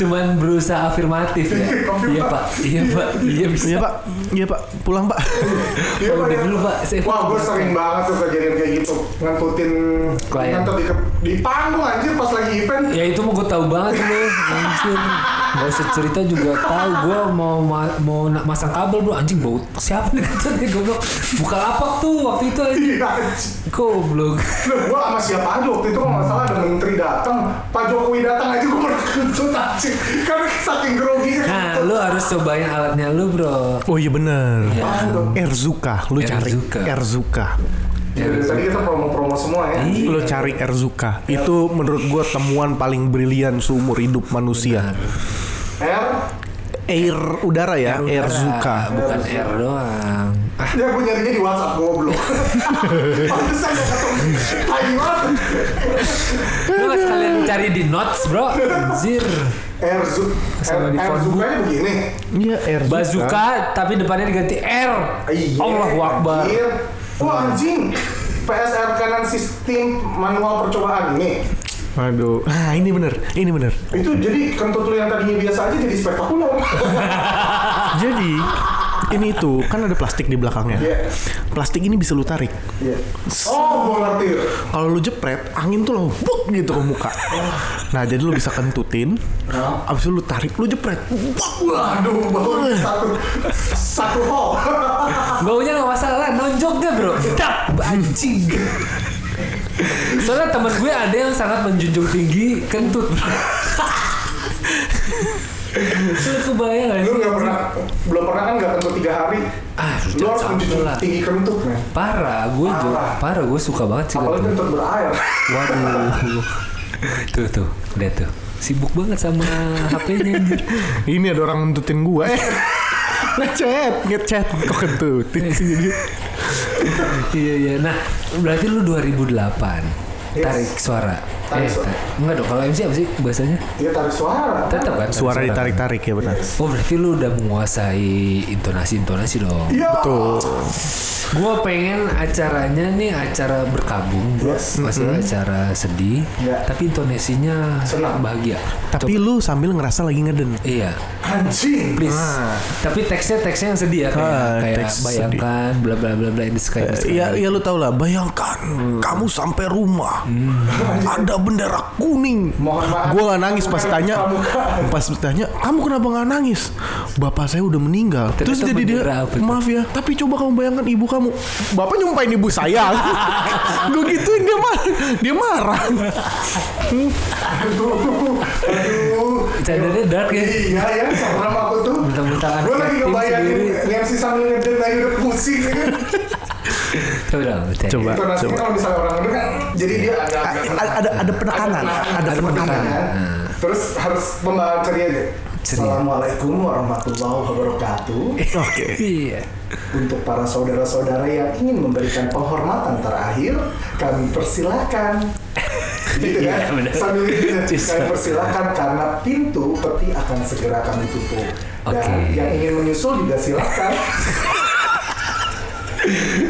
Speaker 2: Cuman berusaha afirmatif ya. Iya Pak. Iya Pak. Iya bisa.
Speaker 3: Iya pak, iya pak, pulang pak.
Speaker 1: Iya
Speaker 2: Udah
Speaker 1: ya.
Speaker 2: dulu, Pak. Saya-
Speaker 1: Wah gue sering banget tuh kejadian kayak gitu. Ngentutin
Speaker 2: Klien.
Speaker 1: Ngentut di, ke- di panggung anjir pas lagi event.
Speaker 2: Ya itu mah gue tahu banget lu. Anjir. Gak usah cerita juga tahu gue mau ma- mau na- masang kabel bro anjing bau siapa nih kentutnya goblok buka lapak tuh waktu itu anjing
Speaker 1: Iya, anjing.
Speaker 2: goblok
Speaker 1: Lu gue sama siapa aja waktu itu kalau nggak salah ada menteri datang, Pak Jokowi datang aja gue pernah kentut anjing. Karena saking groginya.
Speaker 2: nah lu harus cobain alatnya lu bro
Speaker 3: Oh iya bener.
Speaker 1: Apaan tuh?
Speaker 3: Erzuka, lu cari
Speaker 2: Erzuka.
Speaker 3: Erzuka.
Speaker 2: iya.
Speaker 1: Dari Iya, tadi kita promo-promo semua ya.
Speaker 3: Lo cari Erzuka. Itu menurut gua temuan paling brilian seumur hidup manusia.
Speaker 2: Iya.
Speaker 1: R,
Speaker 3: Air udara ya, Erzuka.
Speaker 2: bukan air doang. Ah,
Speaker 1: dia gue nyarinya di WhatsApp goblok. Pantesan gak ketemu. Tai banget.
Speaker 2: lu nggak sekalian cari di notes bro. Anjir.
Speaker 1: R, Zu, R,
Speaker 2: Sama di
Speaker 1: R
Speaker 2: phone
Speaker 1: Zukanya begini.
Speaker 3: Iya, Erzuka.
Speaker 2: Bazooka tapi depannya diganti R.
Speaker 1: Iya,
Speaker 2: Allahu Akbar.
Speaker 1: anjir. Wah anjing. PSR kanan sistem manual percobaan ini.
Speaker 3: Aduh. Ah, ini bener, ini bener.
Speaker 1: Itu jadi kentut lu yang tadinya biasa aja jadi spektakuler.
Speaker 3: Jadi ini tuh kan ada plastik di belakangnya.
Speaker 1: Iya.
Speaker 3: Plastik ini bisa lu tarik.
Speaker 1: Iya. Oh, gue ngerti.
Speaker 3: Kalau lu jepret, angin tuh lo buk gitu ke muka. Nah, jadi lu bisa kentutin.
Speaker 1: Nah.
Speaker 3: Abis itu lu tarik, lu jepret. Buk!
Speaker 1: Waduh, baru satu satu hall.
Speaker 2: Baunya nggak masalah, nonjoknya bro. Tap, anjing. Soalnya teman gue ada yang sangat menjunjung tinggi kentut bro. Lu kebayang nggak
Speaker 1: lu
Speaker 2: sih?
Speaker 1: nggak pernah, belum pernah kan nggak kentut tiga hari.
Speaker 2: Ah,
Speaker 1: Lu
Speaker 2: jangan
Speaker 1: harus
Speaker 2: sampai
Speaker 1: menjunjung
Speaker 2: lah.
Speaker 1: tinggi kentut, men.
Speaker 2: Parah, gue tuh,
Speaker 1: Parah.
Speaker 2: parah gue suka banget sih
Speaker 1: Apalagi
Speaker 2: kentut.
Speaker 1: kentut berair.
Speaker 2: Waduh. tuh tuh, udah tuh. Sibuk banget sama HP-nya anjir.
Speaker 3: Ini ada orang ngentutin gua. Eh. Ngechat, ngechat kok kentutin sih jadi.
Speaker 2: Iya iya. Nah, berarti lu 2008
Speaker 1: Yes.
Speaker 2: tarik suara.
Speaker 1: Tarik
Speaker 2: eh,
Speaker 1: suara.
Speaker 2: ta- enggak dong. Kalau MC apa sih bahasanya?
Speaker 1: Iya tarik suara.
Speaker 2: Tetap kan.
Speaker 3: Suara ditarik-tarik ya benar.
Speaker 2: Oh berarti lu udah menguasai intonasi-intonasi dong.
Speaker 1: Iya.
Speaker 3: Tuh.
Speaker 2: Gua pengen acaranya nih acara berkabung, bro.
Speaker 1: Yes. Mm-hmm.
Speaker 2: Maksudnya acara sedih,
Speaker 1: Iya.
Speaker 2: tapi intonasinya
Speaker 1: Senang.
Speaker 2: bahagia.
Speaker 3: Tapi lu sambil ngerasa lagi ngeden.
Speaker 2: Iya,
Speaker 1: Anjing.
Speaker 2: please. Ah. Tapi teksnya teksnya yang sedih ya kayak,
Speaker 3: Ah,
Speaker 2: kayak
Speaker 3: teks
Speaker 2: bayangkan bla bla bla bla in the sky. in the sky.
Speaker 3: Iya, iya lu tau lah. Bayangkan kamu sampai rumah, ada bendera kuning.
Speaker 1: Mohon maaf.
Speaker 3: Gue nggak nangis pas
Speaker 1: Bukan
Speaker 3: tanya,
Speaker 1: pramuka.
Speaker 3: pas tanya, kamu kenapa nggak nangis? Bapak saya udah meninggal.
Speaker 2: Ternyata
Speaker 3: Terus jadi dia,
Speaker 2: bendera apa itu?
Speaker 3: maaf ya, tapi coba kamu bayangkan ibu kamu. Bapak nyumpain ibu saya. gue gituin dia marah, dia marah.
Speaker 1: Aduh. Aduh.
Speaker 2: Bercandanya dark ya.
Speaker 1: Iya ya, serem aku tuh.
Speaker 2: Mentang-mentang anak
Speaker 1: Gue lagi
Speaker 2: yatim
Speaker 1: ngebayangin
Speaker 2: sendiri.
Speaker 1: yang si sambil ngeden aja udah pusing. ya kan.
Speaker 2: Coba dong, bercanda.
Speaker 3: Coba.
Speaker 1: Intonasinya kalau misalnya orang ngeden kan, jadi dia ada
Speaker 3: Ada ada, ada penekanan, ada penekanan.
Speaker 1: penekanan. Terus harus pembawaan ceria deh.
Speaker 2: Ceria.
Speaker 1: Assalamualaikum warahmatullahi wabarakatuh.
Speaker 3: Oke.
Speaker 2: Iya.
Speaker 1: Untuk para saudara-saudara yang ingin memberikan penghormatan terakhir, kami persilahkan. Gitu kan?
Speaker 2: Iya, benar.
Speaker 1: Sambil gitu, kami
Speaker 2: Justru.
Speaker 1: persilahkan karena pintu peti akan segera kami tutup. Dan
Speaker 2: Oke.
Speaker 1: yang ingin menyusul juga silakan.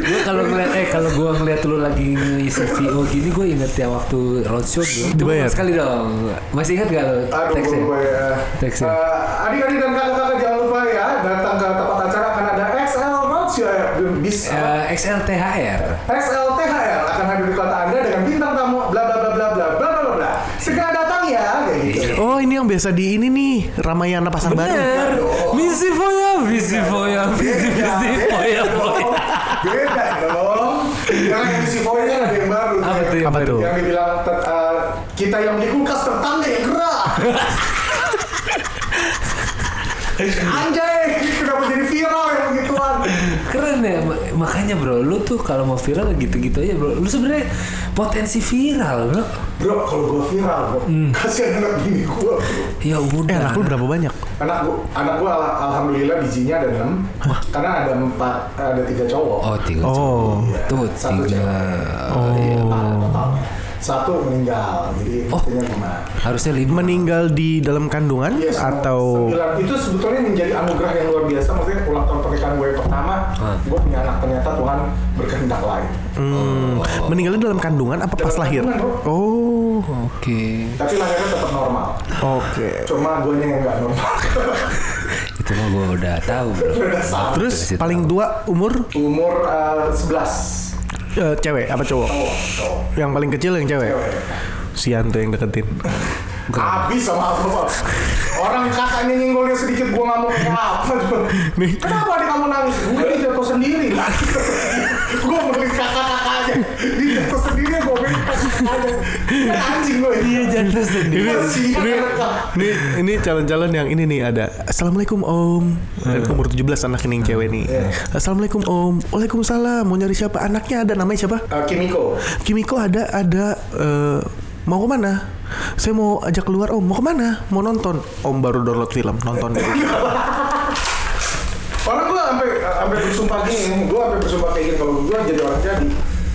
Speaker 2: Gue kalau ngeliat eh kalau gue ngeliat lu lagi ngisi VO gini gue inget ya waktu roadshow gue.
Speaker 3: Dibayar.
Speaker 2: sekali dong. Masih inget gak lu
Speaker 1: Aduh, gue
Speaker 2: teksnya?
Speaker 1: lupa ya.
Speaker 2: Teksnya.
Speaker 1: Eh, adik-adik dan kakak-kakak jangan lupa ya datang ke tempat acara akan ada XL Roadshow ya, bisa.
Speaker 2: Eh, XLTHR.
Speaker 1: XLTHR akan hadir di kota Anda dengan bintang tamu bla bla bla bla bla bla bla bla, bla. Segera datang ya, kayak
Speaker 2: Iya.
Speaker 1: gitu.
Speaker 3: Oh ini yang biasa di ini nih Ramayana Pasar Baru.
Speaker 2: Bener. Iya. Misi foya, misi foya,
Speaker 1: Iya,
Speaker 2: misi misi foya foya.
Speaker 1: Beda dong. Yang misi poinnya ada yang baru.
Speaker 2: Apa tuh yang
Speaker 3: Apa
Speaker 2: baru?
Speaker 3: tuh?
Speaker 1: Yang dibilang tet- eh, kita yang beli kulkas tetangga yang gerak. Anjay, kenapa jadi viral yang begituan?
Speaker 2: Keren ya, ma- makanya bro, lu tuh kalau mau viral gitu-gitu aja bro. Lu sebenarnya potensi viral bro.
Speaker 1: Bro, kalau gua viral, bro,
Speaker 2: Hmm.
Speaker 1: kasihan anak bini gua. Bro.
Speaker 2: Ya
Speaker 3: Eh
Speaker 2: udah.
Speaker 3: anak lu berapa banyak?
Speaker 1: Anak gua, anak gua al- alhamdulillah bijinya ada 6 karena ada empat, ada tiga cowok.
Speaker 2: Oh tiga.
Speaker 3: Oh.
Speaker 2: cowok. Tuh
Speaker 1: Satu
Speaker 2: tiga. Iya.
Speaker 1: Total. Satu meninggal, jadi
Speaker 2: Oh.
Speaker 1: intinya gimana?
Speaker 2: Harusnya lima.
Speaker 3: Meninggal di dalam kandungan
Speaker 1: Iya, sembilan-
Speaker 3: atau
Speaker 1: sembilan. itu sebetulnya menjadi anugerah yang luar biasa maksudnya ulang tahun pernikahan gue yang pertama
Speaker 2: Hmm.
Speaker 1: gue punya anak ternyata Tuhan berkehendak lain
Speaker 3: Hmm, meninggalnya dalam kandungan apa pas
Speaker 1: Dalam
Speaker 3: lahir?
Speaker 1: kandungan,
Speaker 3: Oh, oke.
Speaker 2: Oke.
Speaker 1: tapi lahirnya tetap normal cuma gue yang nggak normal
Speaker 2: Itu mah gue udah tahu bro.
Speaker 3: Terus
Speaker 2: Kasih tahu.
Speaker 3: paling tua umur
Speaker 1: umur eh, Oh, 11
Speaker 3: eh, cewek apa cowok?
Speaker 1: cowok cowok
Speaker 3: Yang paling kecil yang cewek.
Speaker 1: cewek
Speaker 3: Sian tuh yang deketin.
Speaker 1: eh. habis sama apa Bang? orang kakaknya nyenggolnya sedikit gue ngamuk apa tuh
Speaker 3: Nih.
Speaker 1: kenapa adik kamu nangis gue jatuh sendiri gue beli kakak kakaknya dia jatuh sendiri gue beli anjing gue
Speaker 2: Iya jangan sedih.
Speaker 3: ini ini ini, ini calon-calon yang ini nih ada assalamualaikum om Kan umur 17 anak ini yang cewek nih
Speaker 1: Eh.
Speaker 3: assalamualaikum om waalaikumsalam mau nyari siapa anaknya ada namanya siapa
Speaker 1: Eh, Kimiko
Speaker 3: Kimiko ada ada eh, mau kemana saya mau ajak keluar om mau kemana mau nonton om baru download film nonton dulu
Speaker 1: orang gue sampai eh, sampai bersumpah gini gue sampai bersumpah kayak gini kalau gue jadi orang jadi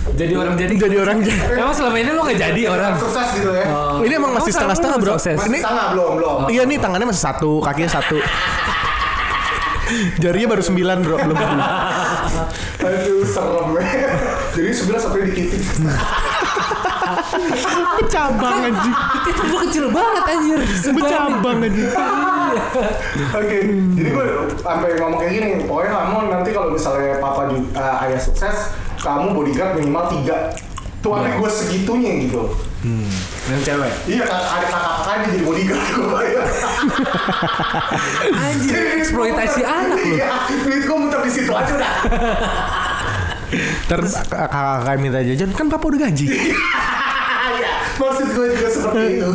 Speaker 2: Jadi orang jadi.
Speaker 3: jadi orang jadi
Speaker 2: Emang selama ini lo gak jadi orang.
Speaker 1: sukses gitu ya
Speaker 2: Oh.
Speaker 3: Ini emang masih
Speaker 2: selama
Speaker 3: setengah-setengah,
Speaker 2: ini
Speaker 3: bro.
Speaker 2: sukses.
Speaker 1: masih
Speaker 3: ini-
Speaker 1: tangga belum belum
Speaker 3: Iya nih tangannya masih satu, kakinya satu. Jarinya baru sembilan bro, belum.
Speaker 1: Oh. aduh serem ya jadi sebelah sampai dikitik
Speaker 3: Cabang anjing,
Speaker 2: Itu gua kecil banget anjir. Sumpah.
Speaker 3: bercabang anjing.
Speaker 1: Oke, jadi gue sampai ngomong kayak gini, pokoknya kamu nanti kalau misalnya papa juga eh, ayah sukses, kamu bodyguard minimal tiga. Tuh aneh gue segitunya gitu.
Speaker 2: Yang cewek.
Speaker 1: Iya, kak- ada kakak-kakak dia jadi bodyguard ya. gue.
Speaker 2: Anjir eksploitasi anak lo.
Speaker 1: Iya, duit gue muter di situ aja udah.
Speaker 3: Terus kakak kakak minta jajan, kan papa udah gaji.
Speaker 1: Iya, maksud gue juga seperti itu.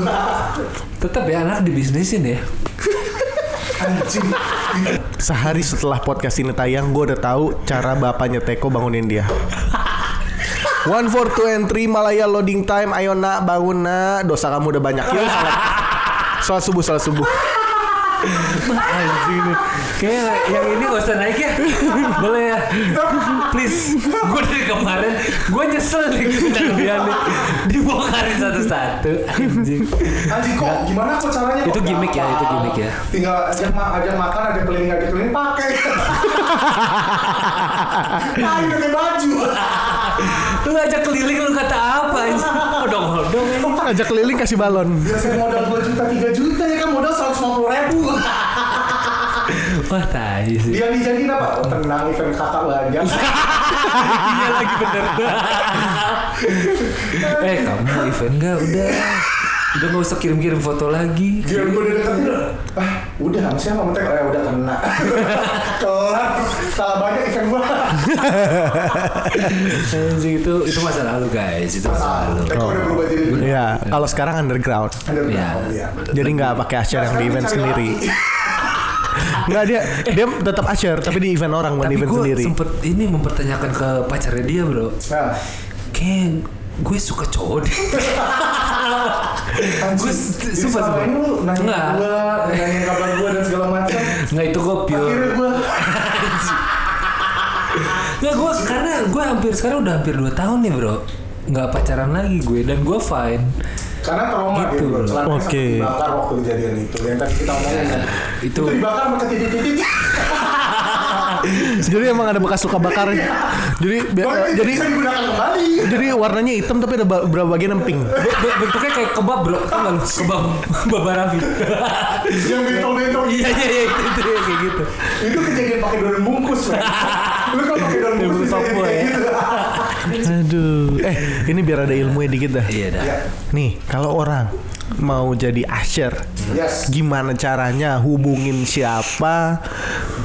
Speaker 2: Tetap ya anak dibisnisin ya.
Speaker 1: Anjing.
Speaker 3: Sehari setelah podcast ini tayang, gue udah tahu cara bapaknya Teko bangunin dia. One four two and three Malaya loading time, ayo nak bangun nak, dosa kamu udah banyak. Yuk salat, salat subuh, salat subuh.
Speaker 2: Anjir nih. Kayak yang ini gak usah naik ya. Boleh ya. Please. Gue dari kemarin. Gue nyesel nih. Kita kebian nih. Dibongkarin satu-satu. Anjing.
Speaker 1: Anjing kok gimana kok caranya?
Speaker 2: Itu
Speaker 1: Kok
Speaker 2: gimmick ya,
Speaker 1: gampang.
Speaker 2: itu gimmick ya.
Speaker 1: Tinggal ajak ma- ajak makan, ajak keliling, ajak keliling pakai. Pakai pakai baju.
Speaker 2: Lu ngajak keliling lu kata apa anjing? Odong-odong ya.
Speaker 3: Ajak keliling kasih balon.
Speaker 1: Biasanya modal 2 juta 3 juta ya kan modal 150 ribu
Speaker 2: Wah tai sih.
Speaker 1: Dia dijadiin apa? Oh, tenang event kakak belanja
Speaker 2: Iya lagi bener. eh kamu event enggak udah. Udah gak usah kirim-kirim foto lagi.
Speaker 1: Dia gue udah deketin Ah udah sama siapa mentek Eh udah kena Kelar Salah banyak event gue
Speaker 2: Anjing itu itu masa lalu guys, itu masa lalu.
Speaker 1: Tapi udah berubah jadi lebih
Speaker 3: Ya, kalau sekarang underground.
Speaker 1: underground,
Speaker 2: Iya.
Speaker 1: ya.
Speaker 3: Jadi nggak pakai asyar yang di
Speaker 1: Sekarang
Speaker 3: event
Speaker 1: cari
Speaker 3: sendiri.
Speaker 1: laki.
Speaker 3: Nggak dia dia tetap asyar tapi di event orang bukan di
Speaker 2: Tapi
Speaker 3: event
Speaker 2: gue
Speaker 3: sendiri.
Speaker 2: sempet ini mempertanyakan ke pacarnya dia bro
Speaker 1: Nah
Speaker 2: Kayak gue suka cowok deh
Speaker 1: anjing.
Speaker 2: Gue
Speaker 1: Jadi
Speaker 2: sumpah,
Speaker 1: selama
Speaker 2: sumpah.
Speaker 1: ini lu nanya
Speaker 2: Enggak.
Speaker 1: gue Nanya kabar gue dan segala macam
Speaker 2: Nggak itu gue pure
Speaker 1: Akhirnya gue
Speaker 2: Nggak gue karena gue hampir sekarang udah hampir 2 tahun nih bro Nggak pacaran lagi gue dan gue fine
Speaker 1: Karena trauma dia
Speaker 2: Gitu.
Speaker 1: bro Celananya sampai
Speaker 3: Oke.
Speaker 1: dibakar waktu kejadian itu Yang tadi kita
Speaker 2: Iya.
Speaker 1: ngomongin kan
Speaker 2: itu-
Speaker 1: Itu dibakar macam titik-titik
Speaker 2: Iya,
Speaker 3: Jadi emang ada bekas luka bakar. jadi biar-
Speaker 1: Baru ini
Speaker 3: jadi
Speaker 1: bisa digunakan kembali
Speaker 3: jadi warnanya hitam tapi ada ba- beberapa bagian yang pink.
Speaker 2: Be- be- Bentuknya kayak kebab bro Tau nggak lu? Kebab Kebab Arabi
Speaker 1: yang bentol-bentol
Speaker 2: Iya iya iya itu, itu ya, kayak gitu
Speaker 1: itu kejadian pakai daun bungkus men. lu kalau pakai daun
Speaker 2: Daun
Speaker 1: bungkus bisa jadi
Speaker 2: papua,
Speaker 1: kayak
Speaker 2: ya.
Speaker 1: gitu
Speaker 3: Aduh. Eh, ini biar ada ilmunya dikit dah.
Speaker 2: Iya dah
Speaker 1: ya
Speaker 3: Nih, kalau orang mau jadi asyar,
Speaker 1: yes
Speaker 3: gimana caranya hubungin siapa,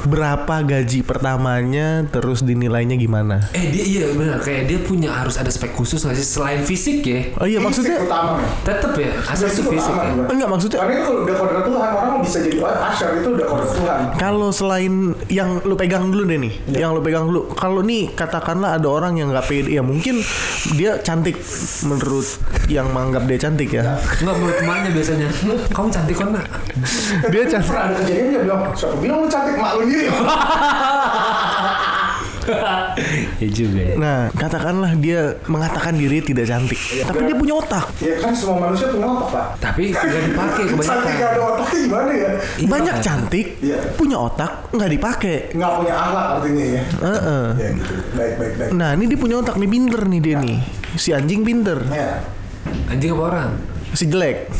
Speaker 3: berapa gaji pertamanya, terus dinilainya gimana?
Speaker 2: Eh dia iya benar kayak dia punya harus ada spek khusus nggak sih selain fisik ya
Speaker 3: Oh iya
Speaker 1: Ini
Speaker 3: maksudnya
Speaker 1: seks utama men.
Speaker 2: Tetep ya asal
Speaker 1: Seks
Speaker 2: itu fisik
Speaker 1: utama,
Speaker 2: ya
Speaker 1: bro.
Speaker 3: enggak maksudnya
Speaker 1: karena itu kalau udah kodrat Tuhan orang bisa jadi asyar itu udah kodrat Tuhan
Speaker 3: Kalau selain yang lu pegang dulu deh nih, yang lu pegang dulu. Kalau nih katakanlah ada orang yang nggak pede, ya mungkin dia cantik menurut yang menganggap dia cantik ya.
Speaker 2: Enggak menurut temannya biasanya Kamu cantik kan nak
Speaker 3: Dia cantik.
Speaker 1: pernah ada kejadian dia bilang siapa bilang lu cantik mak lu sendiri
Speaker 2: Ya juga ya
Speaker 3: Nah, katakanlah dia mengatakan diri tidak cantik, tapi dia punya otak.
Speaker 1: ya kan semua manusia punya otak pak
Speaker 2: Tapi nggak dipakai
Speaker 1: cantik gak
Speaker 2: kebanyakan
Speaker 1: ada otaknya gimana ya
Speaker 2: Iya.
Speaker 3: Banyak cantik,
Speaker 1: Iya.
Speaker 3: punya otak nggak dipakai.
Speaker 1: nggak punya akhlak artinya ya
Speaker 3: Heeh.
Speaker 1: ya gitu baik baik baik
Speaker 3: Nah, ini dia punya otak nih pinter nih dia nih. Si anjing pinter,
Speaker 1: ya
Speaker 2: Anjing apa orang?
Speaker 3: si jelek.